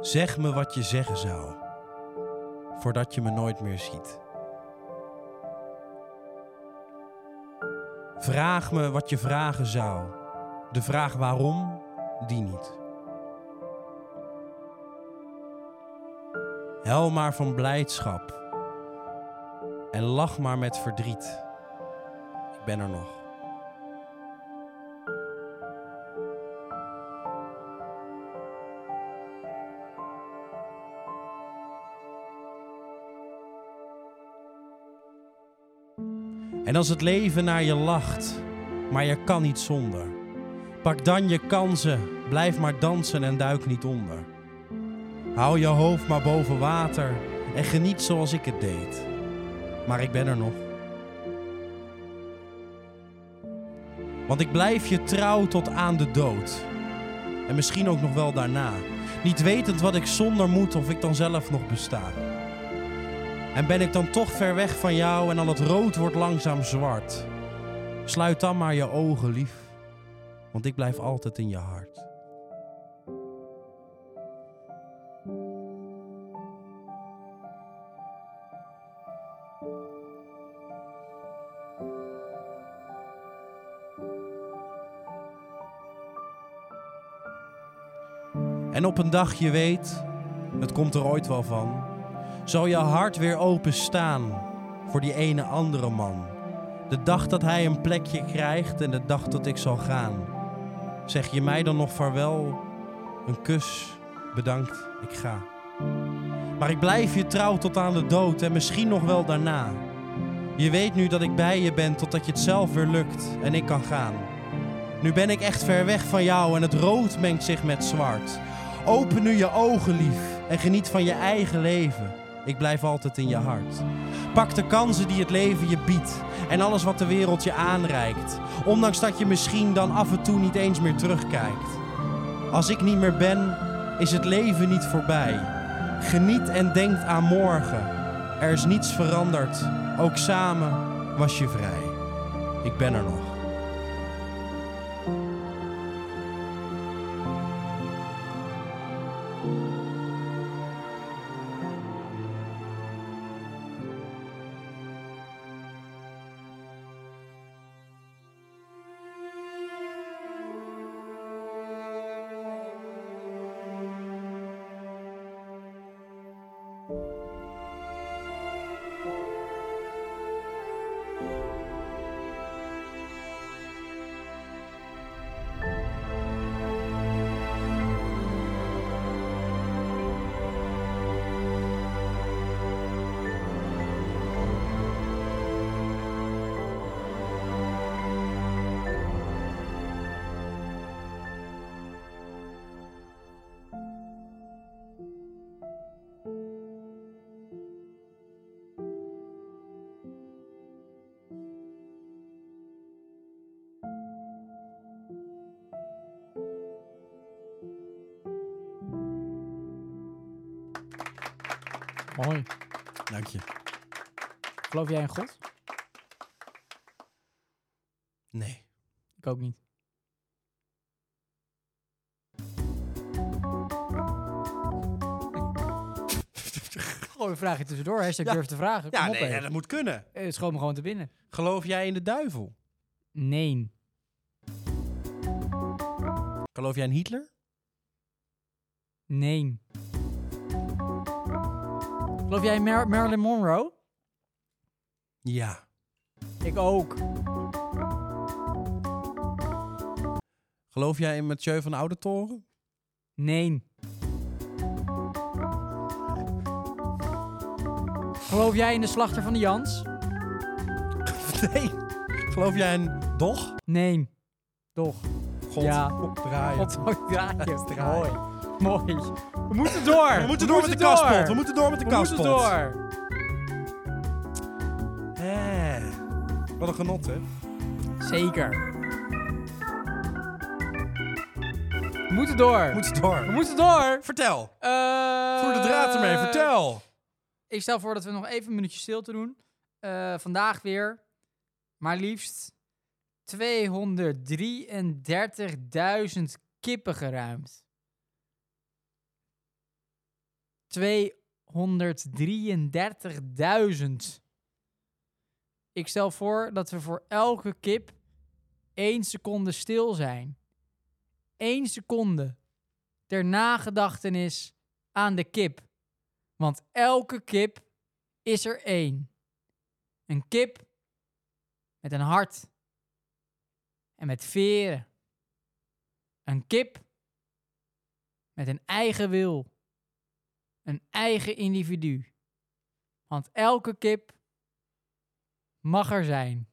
Zeg me wat je zeggen zou, voordat je me nooit meer ziet. Vraag me wat je vragen zou, de vraag waarom, die niet. Huil maar van blijdschap en lach maar met verdriet. Ik ben er nog. En als het leven naar je lacht, maar je kan niet zonder. Pak dan je kansen, blijf maar dansen en duik niet onder. Hou je hoofd maar boven water en geniet zoals ik het deed. Maar ik ben er nog. Want ik blijf je trouw tot aan de dood. En misschien ook nog wel daarna. Niet wetend wat ik zonder moet of ik dan zelf nog besta. En ben ik dan toch ver weg van jou en al het rood wordt langzaam zwart. Sluit dan maar je ogen, lief, want ik blijf altijd in je hart. En op een dag, je weet, het komt er ooit wel van zal je hart weer openstaan voor die ene andere man. De dag dat hij een plekje krijgt en de dag dat ik zal gaan. Zeg je mij dan nog vaarwel? Een kus, bedankt, ik ga. Maar ik blijf je trouw tot aan de dood en misschien nog wel daarna. Je weet nu dat ik bij je ben totdat je het zelf weer lukt en ik kan gaan. Nu ben ik echt ver weg van jou en het rood mengt zich met zwart. Open nu je ogen, lief, en geniet van je eigen leven. Ik blijf altijd in je hart. Pak de kansen die het leven je biedt en alles wat de wereld je aanreikt. Ondanks dat je misschien dan af en toe niet eens meer terugkijkt. Als ik niet meer ben, is het leven niet voorbij. Geniet en denk aan morgen. Er is niets veranderd. Ook samen was je vrij. Ik ben er nog.
Mooi.
Dank je.
Geloof jij in God?
Nee.
Ik ook
<laughs>
niet. Gooi een vraagje tussendoor. Hashtag
Ja.
durf te vragen. Kom
Ja,
op,
nee,
hé.
ja, dat moet kunnen.
Eh, Schoot me gewoon te binnen.
Geloof jij in de duivel?
Nee.
Geloof jij in Hitler?
Nee. Geloof jij in Mar- Marilyn Monroe?
Ja.
Ik ook.
Geloof jij in Mathieu van Oudertoren?
Nee. Geloof jij in de slachter van de Jans?
<laughs> Nee. Geloof jij in Doch?
Nee. Toch.
God,
Ja.
opdraaien.
Wat een
Het
draadje.
draait.
Mooi. Mooi. We moeten door.
We moeten door met de kaspot. We moeten door met de
We moeten
kaspot.
door.
Eh. Wat een genot, hè?
Zeker. We moeten door.
We moeten door. eh,
We moeten door.
Vertel.
Eh,
Voer de draad ermee. Vertel.
Ik stel voor dat we nog even een minuutje stilte doen. Eh, vandaag weer, maar liefst 233.000 kippen geruimd. 233.000. Ik stel voor dat we voor elke kip 1 seconde stil zijn. 1 seconde ter nagedachtenis aan de kip. Want elke kip is er één. Een kip met een hart en met veren. Een kip met een eigen wil. Een eigen individu. Want elke kip mag er zijn.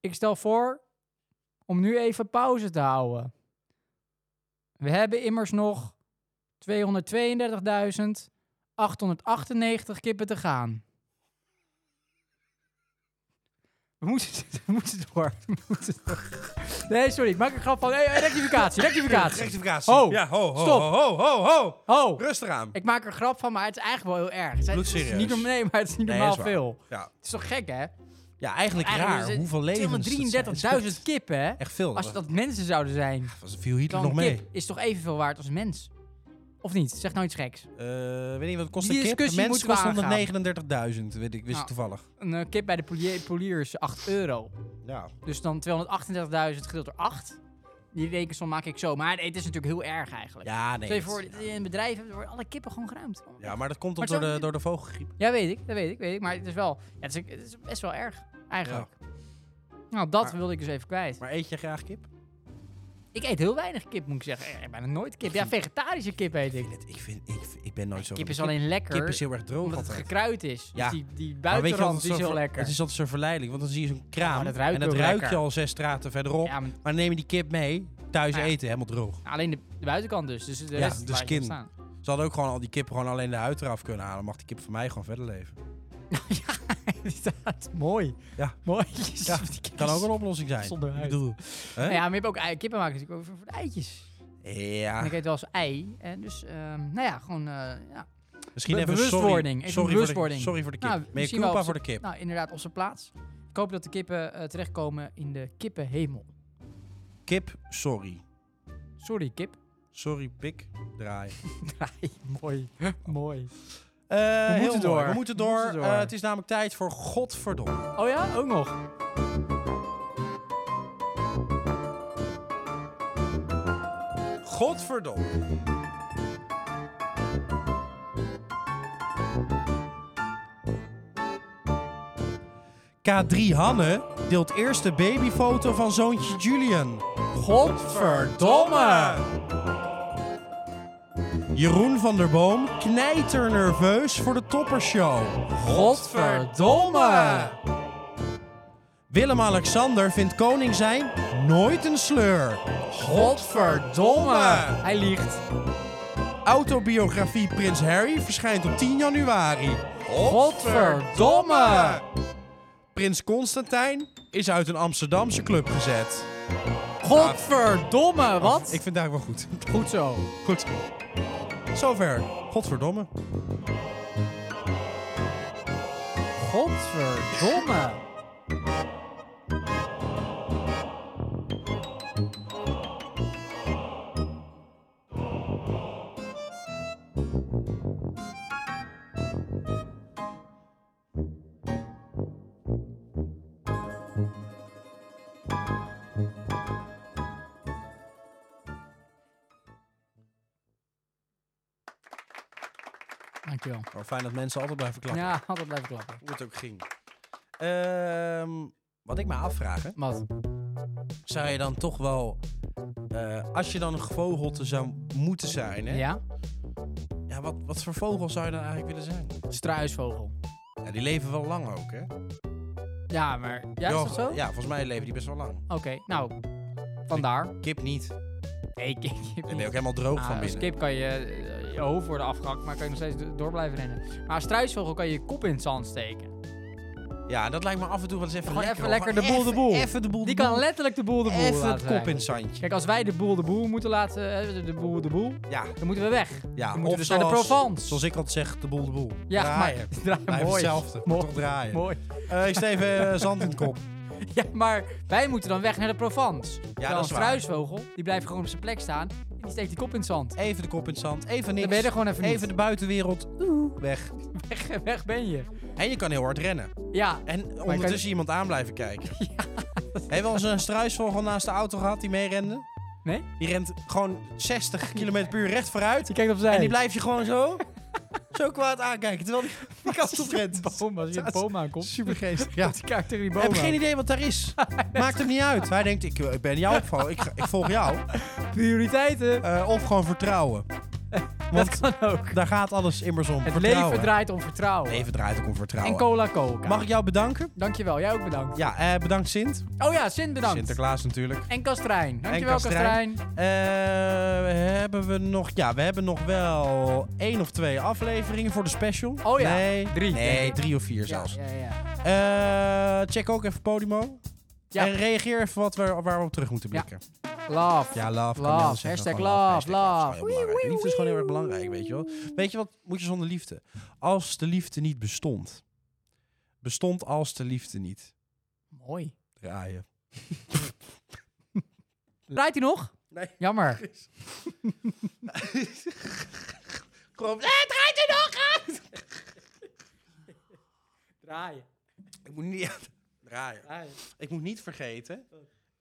Ik stel voor om nu even pauze te houden. We hebben immers nog 232.898 kippen te gaan. We moeten, we moeten door. We moeten door. Nee, sorry. Ik maak een grap van... Hey, hey, rectificatie, rectificatie.
Rectificatie.
Ho.
Ja, ho, ho,
Stop.
ho, ho, ho, ho.
Oh,
Rustig aan.
ik maak er een grap van, maar het is eigenlijk wel heel erg. Het is- Het is
Bloedserieus.
niet, norm- nee, maar het is niet
Nee,
normaal
is waar.
veel.
Ja,
Het is toch gek, hè?
ja eigenlijk,
Eigenlijk
raar.
is het
Hoeveel levens dat zijn.
233.000 kippen, hè?
Echt veel.
Als
dat
dat mensen zouden zijn,
was, viel Hitler
dan
nog mee.
kip is toch evenveel waard als een mens? Of niet? Zeg nou iets geks.
Eh, weet niet wat het kost
Die
een kip. Een
discussie
mens kost
moeten we
139.000, weet ik, wist
Nou.
ik toevallig.
Een eh, kip bij de polier, polier is 8 euro.
Ja.
Dus dan 238.000 gedeeld door 8. Die rekensom maak ik zo. Maar het is natuurlijk heel erg eigenlijk.
Ja, nee.
Stel je
dat-
voor, in een bedrijf hebben alle kippen gewoon geruimd.
Ja, maar dat komt
Maar
toch door
zo-
de, door de vogelgriep.
Ja, weet ik. Dat weet ik, weet ik. Maar het is wel... ja, het, is, het is best wel erg, eigenlijk. Nou, dat
Maar-
wilde ik dus even kwijt.
Maar eet je graag kip?
Ik eet heel weinig kip, moet ik zeggen. Eh, Bijna nooit kip. Ja, vegetarische kip eet ik.
Ik, vind het- ik, vind, ik, vind- ik ben nooit zo...
Kip
van
is
de
alleen lekker.
Kip is heel erg droog
Omdat het
altijd.
gekruid is.
Ja.
Dus die, die
Maar weet je wat
buitenrand
het
is
zo
heel
ver-
lekker.
Het is altijd zo verleidelijk, want dan zie je zo'n kraam
maar dat ruikt
en dat
ook
ruik je
lekker.
al zes straten verderop.
ja, maar
Maar dan neem je die kip mee, thuis
Ja.
eten, helemaal droog.
alleen de, de buitenkant dus. Dus de
Ja,
rest
de
laat je
skin. <laughs>
staan.
Ze hadden ook gewoon al die kip gewoon alleen de huid eraf kunnen halen. Mag die kip van mij gewoon verder leven.
Inderdaad, mooi.
Ja.
Mooi. <laughs>
Ja, Kan ook een oplossing zijn.
Zonder
Ik
huid.
bedoel, hè?
Nou ja, maar je hebt ook ei- kippen maken natuurlijk ook voor, voor de eitjes. En
Ja.
ik eet wel eens ei. En dus, ehm, nou ja, gewoon... eh, ja.
Misschien
Be-
even
bewustwording.
Sorry, sorry,
Even
Voor de,
bewustwording.
sorry voor de kip.
Nou,
Meer
misschien
culpa
wel-
voor de kip.
Nou, inderdaad, op zijn plaats. Ik hoop dat de kippen eh, terechtkomen in de kippenhemel.
Kip, sorry.
Sorry, kip. <laughs>
Sorry, pik, draai.
Draai.
<laughs>
mooi. mooi.
Eh, heel
moeten
mooi.
door.
We moeten
We
door.
moeten door.
Eh, het is namelijk tijd voor Godverdomme.
Oh ja, ook nog.
Godverdomme. K3 Hanne deelt eerste babyfoto van zoontje Julian. Godverdomme! Jeroen van der Boom knijter nerveus voor de toppershow.
Godverdomme!
Willem-Alexander vindt koning zijn nooit een sleur. Godverdomme!
Hij liegt.
Autobiografie Prins Harry verschijnt op 10 januari.
Godverdomme!
Prins Constantijn is uit een Amsterdamse club gezet.
Godverdomme, wat?
Ik vind het eigenlijk wel goed. <laughs>
Goed zo.
Goed. Zover. Godverdomme.
Godverdomme. Dankjewel.
Oh, fijn dat mensen altijd blijven klappen.
Ja, altijd blijven klappen.
Hoe het ook ging. Ehm, wat ik me afvraag, hè,
Wat?
zou je dan toch wel... eh, als je dan een gevogelte zou moeten zijn, hè?
Ja?
Ja, wat, wat voor vogel zou je dan eigenlijk willen zijn?
Struisvogel.
Ja, die leven wel lang ook, hè?
Ja, maar... Ja, is dat zo?
Ja, volgens mij leven die best wel lang.
Oké, nou... Vandaar.
Kip niet. Daar
Nee, ik, ik heb
ben je ook
niet-
helemaal droog
Ah,
van
als
binnen.
kip kan je eh, je hoofd worden afgehakt, maar kan je nog steeds do- door blijven rennen. Maar als struisvogel kan je je kop in het zand steken.
Ja, dat lijkt me af en toe wel eens even
Gewoon
lekker.
even
hoor.
lekker de boel de
even-
boel.
Even de boel
Die
de boel.
kan letterlijk de boel de boel
Even het
laten
kop in het
zijn.
zandje.
Kijk, als wij de boel de boel moeten laten, eh, de- de boel de boel,
Ja,
dan moeten we weg.
ja.
moeten
of
dus naar
zoals,
de Provence.
Zoals ik altijd zeg, de boel de boel.
Ja,
draaien.
maar <laughs> draai,
Blijf
mooi.
hetzelfde.
Mooi.
Toch draaien.
Mooi.
Eh, ik steef even eh, zand in de kop.
Ja, maar wij moeten dan weg naar de Provence. Ja,
dat
Terwijl een
is waar.
struisvogel, die blijft gewoon op zijn plek staan en die steekt die kop in het zand.
Even de kop in het zand. Even niks.
Dan ben je er gewoon even,
Even de buitenwereld. Oeh, weg.
niet. Weg, <laughs> weg ben je.
En je kan heel hard rennen.
Ja,
En ondertussen iemand aan blijven
<laughs>
kijken. Hebben we al eens een struisvogel naast de auto gehad die meerende?
Nee?
Die rent gewoon
<laughs>
60 km per uur recht vooruit.
die kijkt opzij.
En die blijf je gewoon zo. zo kwaad aankijken. Terwijl
<laughs>
die, die kast op rent.
Boom, als je een
Dat is
boom aankomt.
Supergeestig.
<laughs>
Ja.
Die kijkt tegen die
Ik
boom
heb
aan.
geen idee wat daar
<laughs>
is. Maakt hem niet uit. Hij denkt, ik, ik ben jou opvallen. Ik, ga- ik volg jou.
<laughs> Prioriteiten.
Eh, of gewoon
<laughs>
vertrouwen.
Dat kan ook.
Daar gaat alles immers om.
Het
vertrouwen.
leven draait om vertrouwen.
Leven draait ook om vertrouwen.
en cola cola.
Mag ik jou bedanken?
Dankjewel, jij ook bedankt.
Ja, eh, bedankt Sint.
Oh ja, Sint bedankt.
Sinterklaas natuurlijk.
En Kastrijn. Dankjewel,
Kastrijn.
Kastrijn.
Eh, hebben we nog... Ja, we hebben nog wel één of twee afleveringen voor de special.
Oh ja,
Nee,
drie, denk
Nee,
ik.
drie of vier zelfs.
Ja, ja, ja.
Eh, check ook even Podimo.
Ja.
En reageer even wat we, waar we op terug moeten blikken.
Love.
Ja, love.
Love. Hashtag love, love.
Hashtag love. Liefde is gewoon heel erg belangrijk, weet je wel. Weet je wat moet je zonder liefde? Als de liefde niet bestond. Bestond als de liefde niet.
Mooi.
Draaien.
Draait hij nog?
Nee.
Jammer.
Gewoon, eh, draait u nog aan!
<laughs> Draaien.
Ik moet niet... <laughs> Draaien. Ik moet niet vergeten...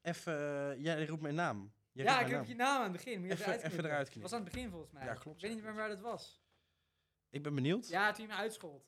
Even... eh, jij roept mijn naam. Jij roept mijn naam.
naam aan het begin. Moet
je even Even- uitknippen. even eruit knippen.
aan het begin volgens mij.
Ja, klopt.
niet meer waar dat was.
Ik ben benieuwd.
Ja, toen je me uitschold.